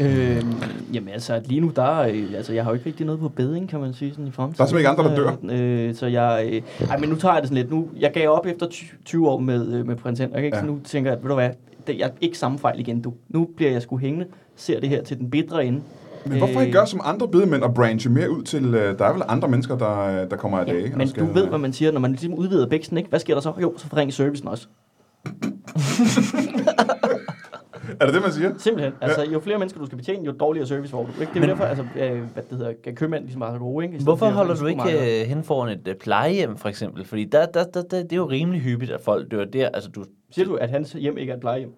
E: Øh, jamen altså, lige nu, der er, øh, altså, jeg har jo ikke rigtig noget på beding, kan man sige, sådan i fremtiden.
A: Der er simpelthen ikke andre,
E: der dør. Øh, så jeg, øh, ej, men nu tager jeg det sådan lidt. Nu, jeg gav op efter 20 20 år med, øh, med prins Henrik, ikke? Ja.
A: Ja.
E: Så nu tænker jeg, ved du hvad, det, jeg ikke samme fejl igen, du. Nu bliver jeg sgu hængende, ser det her til den bedre ende.
A: Men
E: Øh.
A: hvorfor ikke gøre som andre bedemænd og branche mere ud til... Øh, der er vel andre mennesker, der, øh, der kommer af dage? og
E: Men
A: skal-
E: du ved, hvad man siger, når man ligesom udvider bæksten, ikke? Hvad sker der så? Jo, så forringes servicen også.
A: Er det det, man siger?
E: Simpelthen. Altså, jo flere mennesker, du skal betjene, jo dårligere service får du. Ikke? Det er jo derfor, altså, øh, hvad det hedder, kan købmænd ligesom meget gode, ikke? I stedet
B: Hvorfor
E: for at
B: holder
E: ringe
B: du
E: supermarkeder.
B: ikke øh, hen foran et øh, plejehjem, for eksempel? Fordi der, der, der, der, det er jo rimelig hyppigt, at folk dør der. Altså, du,
E: Siger du, at hans hjem ikke er et plejehjem?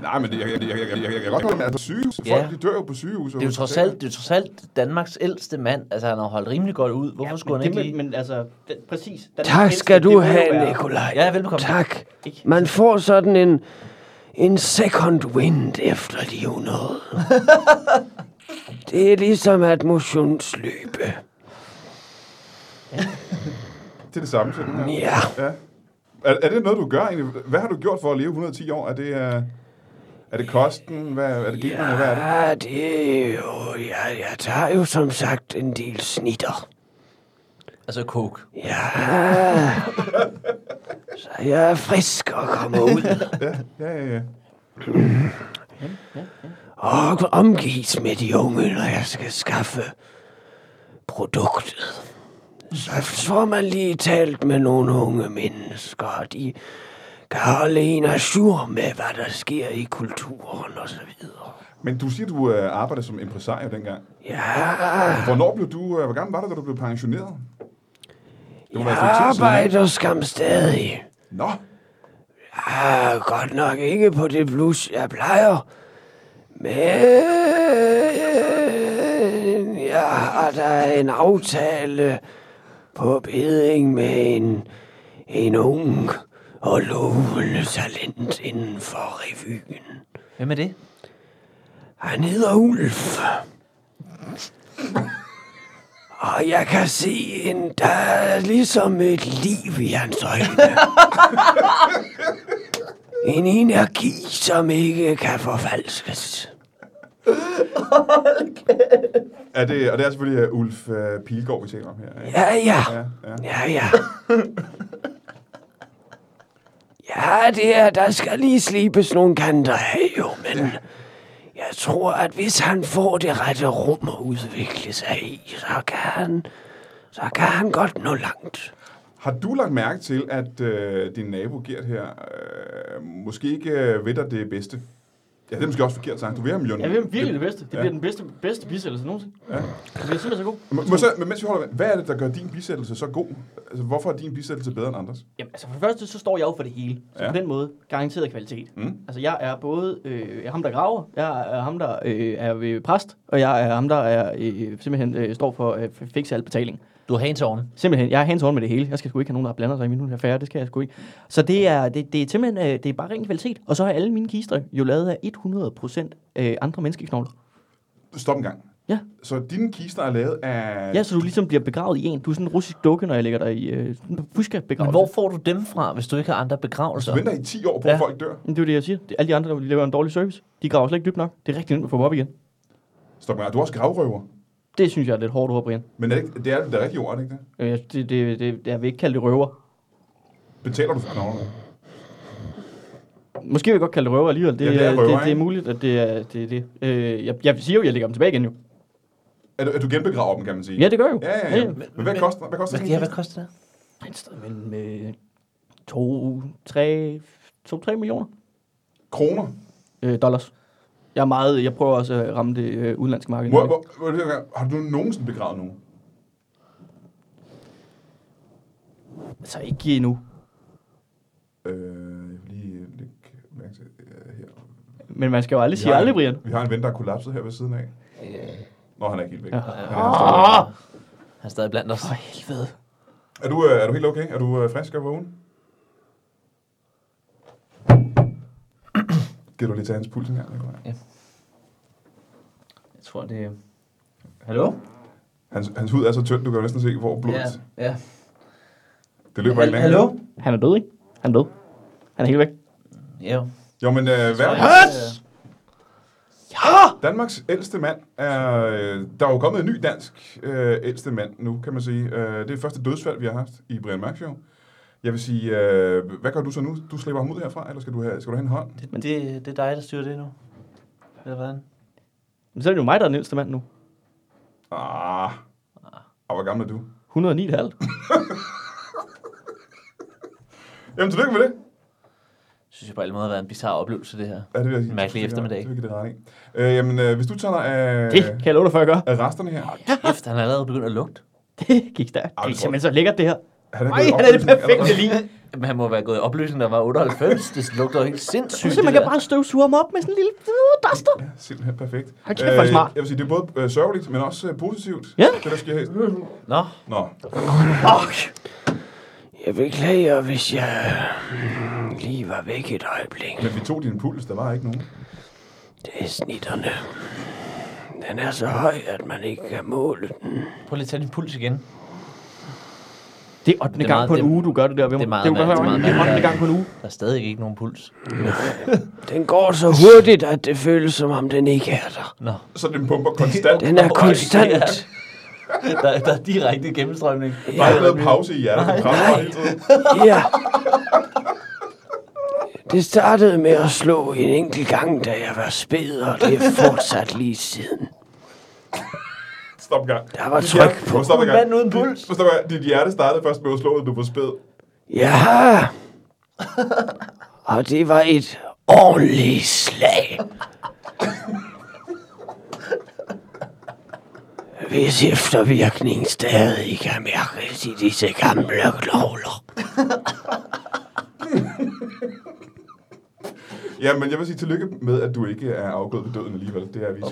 A: Nej, men det, jeg, jeg, jeg, jeg, jeg, jeg, jeg kan godt holde med, at på sygehus,
B: Ja.
A: folk de dør jo på sygehus.
B: det, er jo trods alt, det er jo trods alt Danmarks ældste mand. Altså, han har holdt rimelig godt ud. Hvorfor ja, skulle
E: men
B: han ikke
E: det
B: lige...
E: med, Men altså, det, præcis. Den
F: Tak
E: ældste,
F: skal
E: det
F: du
E: må jo være-
F: have, Nikolaj.
B: Ja, velbekomme.
F: Tak. Man får sådan en, en second wind efter livnåde. Det er ligesom at motionsløbe.
A: Det er det samme, sådan her.
F: Ja.
A: Ja. Er, er det noget, du gør egentlig? Hvad har du gjort for at leve 110 år? Er det, øh, er det kosten? Hvad, er det generne? Hvad er det?
F: Ja, Ah, det er jo... Ja, jeg tager jo som sagt en del snitter.
B: Altså, coke.
F: Ja. Så jeg er frisk og kommer ud
A: Ja, ja, ja.
F: og omgives med de unge, når jeg skal skaffe produktet. Så får man lige talt med nogle unge mennesker, og de kan holde en sur med, hvad der sker i kulturen og så videre.
A: Men du siger, du øh, arbejdede som impresario dengang.
F: Ja,
A: Hvornår blev du... Øh, hvor gammel var du, da du blev pensioneret? Det må være
F: jeg
A: et stykke tid siden, ikke?
F: arbejder skam stadig.
A: Nå,
F: Ah, godt nok ikke på det blus, jeg plejer. Men jeg har da en aftale på beding med en, en ung og lovende talent inden for revyen.
B: Hvem er det?
F: Han hedder Ulf. Og jeg kan se en, der er ligesom et liv i hans øjne. En energi, som ikke kan forfalskes.
A: er det, og det er selvfølgelig øh, Ulf øh, Pilgaard, vi taler om her. Ikke?
F: Ja, ja.
A: Ja, ja.
F: Ja, ja. Ja, det er, der skal lige slibes nogle kanter af, jo, men... Jeg tror, at hvis han får det rette rum at udvikle sig i, så kan han, så kan han godt nå langt.
A: Har du lagt mærke til, at øh, din nabo Gert her øh, måske ikke øh, ved dig det bedste? Ja, det er måske også forkert sagt. Du ved ham jo nu.
E: Ja, det er virkelig det bedste. Det
A: Ja.
E: bliver den bedste, bedste bisættelse nogensinde. Ja. Det bliver simpelthen så god.
A: Må, må så, men mens vi holder, hvad er det, der gør din bisættelse så god? Altså, hvorfor er din bisættelse bedre end andres?
E: Jamen, altså for det første, så står jeg jo for det hele. Så
A: Ja.
E: ja. på den måde, garanteret kvalitet.
A: Mm.
E: Altså, jeg er både øh, jeg er ham, der graver, jeg er ham, der øh, er ved præst, og jeg er ham, der er, øh, simpelthen øh, står for at øh, fikse al betaling.
B: Du har hands on.
E: Simpelthen, jeg er hands on med det hele. Jeg skal sgu ikke have nogen, der blander sig i min affære. Det skal jeg sgu ikke. Så det er, det, det er simpelthen, øh, det er bare ren kvalitet. Og så er alle mine kister jo lavet af 100% øh, andre menneskeknogler.
A: Stop en gang.
E: Ja.
A: Så dine kister er lavet af...
E: Ja, så du ligesom bliver begravet i en. Du er sådan en russisk dukke, når jeg ligger dig i øh, buska
B: Men
E: begravet.
B: hvor får du dem fra, hvis du ikke har andre begravelser?
A: Du venter i 10 år på, ja. at
B: Ja.
A: folk dør.
E: Det er jo det, jeg siger. Det er alle de andre, der laver en dårlig service. De graver slet ikke dybt nok. Det er rigtig nemt at få dem op igen.
A: Stop en gang. Du er også gravrøver.
E: Det synes jeg er lidt hårdt ord, Brian.
A: Men er det, ikke- det er det rigtige ord, er det ikke det?
E: Øh, Det, det, det, det, jeg vil ikke kalde det røver.
A: Betaler du for knoglerne?
E: Måske vil jeg godt kalde det røver alligevel. Det,
A: Ja, det er
E: øh,
A: røver,
E: det, det er
A: ikke?
E: muligt, at det er det. Er det. Øh, jeg, jeg siger jo, at jeg lægger dem tilbage igen jo.
A: Er du, er du genbegraver dem, kan man sige?
E: Ja, det gør jeg jo.
A: Ja, ja, ja. Men, hvad koster, hvad koster
B: Hvad,
A: sådan
B: ja,
A: en
B: hvad
A: kiste?
B: koster det?
E: Et sted mellem øh, 2, 3, 2, 3 millioner
A: Kroner?
E: øh, dollars. Jeg er meget, jeg prøver også at ramme det øh, udenlandske marked.
A: Hvor, hvor, hvor, hvor, har du nogensinde begravet nogen?
E: Altså ikke endnu.
A: Øh, jeg vil lige lægge mærke til øh, her.
E: Men man skal jo aldrig sige
A: Ja.
E: aldrig, Brian.
A: Vi har en ven, der er kollapset her ved siden af. Nå, han er ikke helt væk.
B: Han er stadig blandt os.
A: Er du, øh, er du helt okay? Er du øh, frisk og vågen? Giver du lige tage hans puls engang? Nikolaj?
H: Jeg tror, det er... Hallo?
A: Hans, hans hud er så tynd, du kan jo næsten se, hvor blodet...
H: Ja, ja.
A: Det løber ikke længere.
H: Hallo?
E: Han er død, ikke? Han er død. Han er helt væk.
B: Ja.
A: Jo, men øh, hvad?
H: Høs!
A: Danmarks ældste mand er... Øh, der er jo kommet en ny dansk øh, ældste mand nu, kan man sige. Øh, det er det første dødsfald, vi har haft i Brian Mørk Show. Jeg vil sige, øh, hvad gør du så nu? Du slipper ham ud herfra, eller skal du have, skal du have en hånd?
B: Det, det, det er dig, der styrer det nu. Eller hvordan?
E: Men så er det jo mig, der er den ældste mand nu.
A: Ah, ah hvor gammel er du?
E: 109,5.
A: Jamen, tillykke med det.
B: Synes jeg på alle måder har været en bizarre oplevelse, det her.
A: Ja, det vil jeg sige.
B: Mærkelig
A: Det vil jeg-
B: eftermiddag.
A: Det vil jeg give dig ret i. Øh, jamen, øh, hvis du tager dig af,
E: Det kan jeg love dig for, at gøre.
A: af resterne her.
B: Kæft, han er allerede begyndt at lugte.
E: Det gik stærkt.
A: Ej,
E: Det
A: det
E: er
A: tror
E: simpelthen så lækkert, det her.
A: Han er
E: Ej,
A: gået i
E: han er det
A: opløsning
E: perfekte
A: allerede.
E: lige.
B: Men han må være gået i opløsning, der var 98. Det lugter jo helt sindssygt.
E: Så man
B: det
E: kan
B: der.
E: bare støvsuge ham op med sådan en lille øh, duster.
A: Ja, simpelthen perfekt.
E: Hold kæft, hvor er det smart.
A: jeg vil sige, det er både øh, sørgeligt, men også øh, positivt,
E: Ja.
A: det der sker her.
B: Nå,
A: Nå,
F: Jeg beklager, hvis jeg øh, lige var væk et øjeblik.
A: men vi tog din puls, der var ikke nogen.
F: Det er snitterne. Den er så høj, at man ikke kan måle den.
B: prøv lige at tage din puls igen.
E: Det er 8.
B: Det er
E: gang
B: meget-
E: på en
B: det-
E: uge, du gør det der. Ved
B: det er meget
E: det er, jo
B: mærkeligt, meget
E: godt, det er 8.
B: mærkeligt.
E: gang på en uge.
B: Der er stadig ikke nogen puls.
F: Den går så hurtigt, at det føles, som om den ikke er der.
B: Nå,
A: Så den pumper konstant.
F: Den er
B: Ja.
F: konstant.
B: der, der er direkte gennemstrømning.
A: Der er ikke lavet pause i hjertet. Den presser bare hele tiden.
F: Ja. Det startede med at slå en enkelt gang, da jeg var spæd, og det er fortsat lige siden.
A: Stop gang.
F: Der var tryk på.
A: Stop gang.
B: Manden uden puls.
A: Forstår jeg, dit hjerte startede først med at slå, da du var spæd.
F: Ja. Og det var et ordentligt slag. Hvis eftervirkning stadig kan mærkes i disse gamle knogler.
A: Ja, men jeg vil sige tillykke med, at du ikke er afgået ved døden alligevel. Det er vi.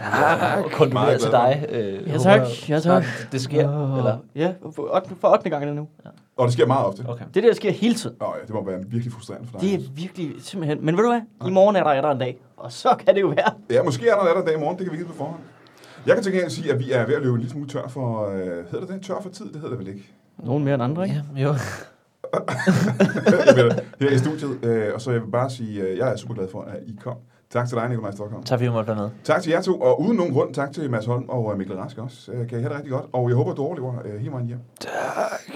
B: Og kun
A: Meget
B: til
A: glad for.
B: dig. Øh,
E: Ja,
B: håber
E: tak.
B: jeg,
E: Ja, tak.
B: snart Det sker,
E: Åh,
B: eller?
E: Ja, for 8. for 8. gangen nu.
A: Og det sker meget ofte.
B: Okay.
E: Det der sker hele tiden.
A: Nå, ja, det må være virkelig frustrerende for dig.
E: Det er virkelig simpelthen... Men ved du hvad? I morgen er der, er der en dag. Og så kan det jo være.
A: Ja, måske er der en anden dag i morgen, det kan vi ikke vide på forhånd. Jeg kan til gengæld sige, at vi er ved at løbe en lille smule tør for... Øh, hedder det det? Tør for tid? Det hedder det vel ikke?
E: Nogen mere end andre, ikke?
B: Ja, jo.
A: Jeg ved det. Her i studiet. Øh, og så jeg vil bare sige, at jeg er super glad for, at I kom. Tak til dig, Nikolaj Stockholm.
B: Tak fordi jeg måtte være med.
A: Tak til jer to, og uden nogen grund, tak til Mads Holm og øh, Mikkel Rask også. Øh, Kan I have det rigtig godt, og jeg håber, du overlever øh, hele vejen hjem.
F: Tak.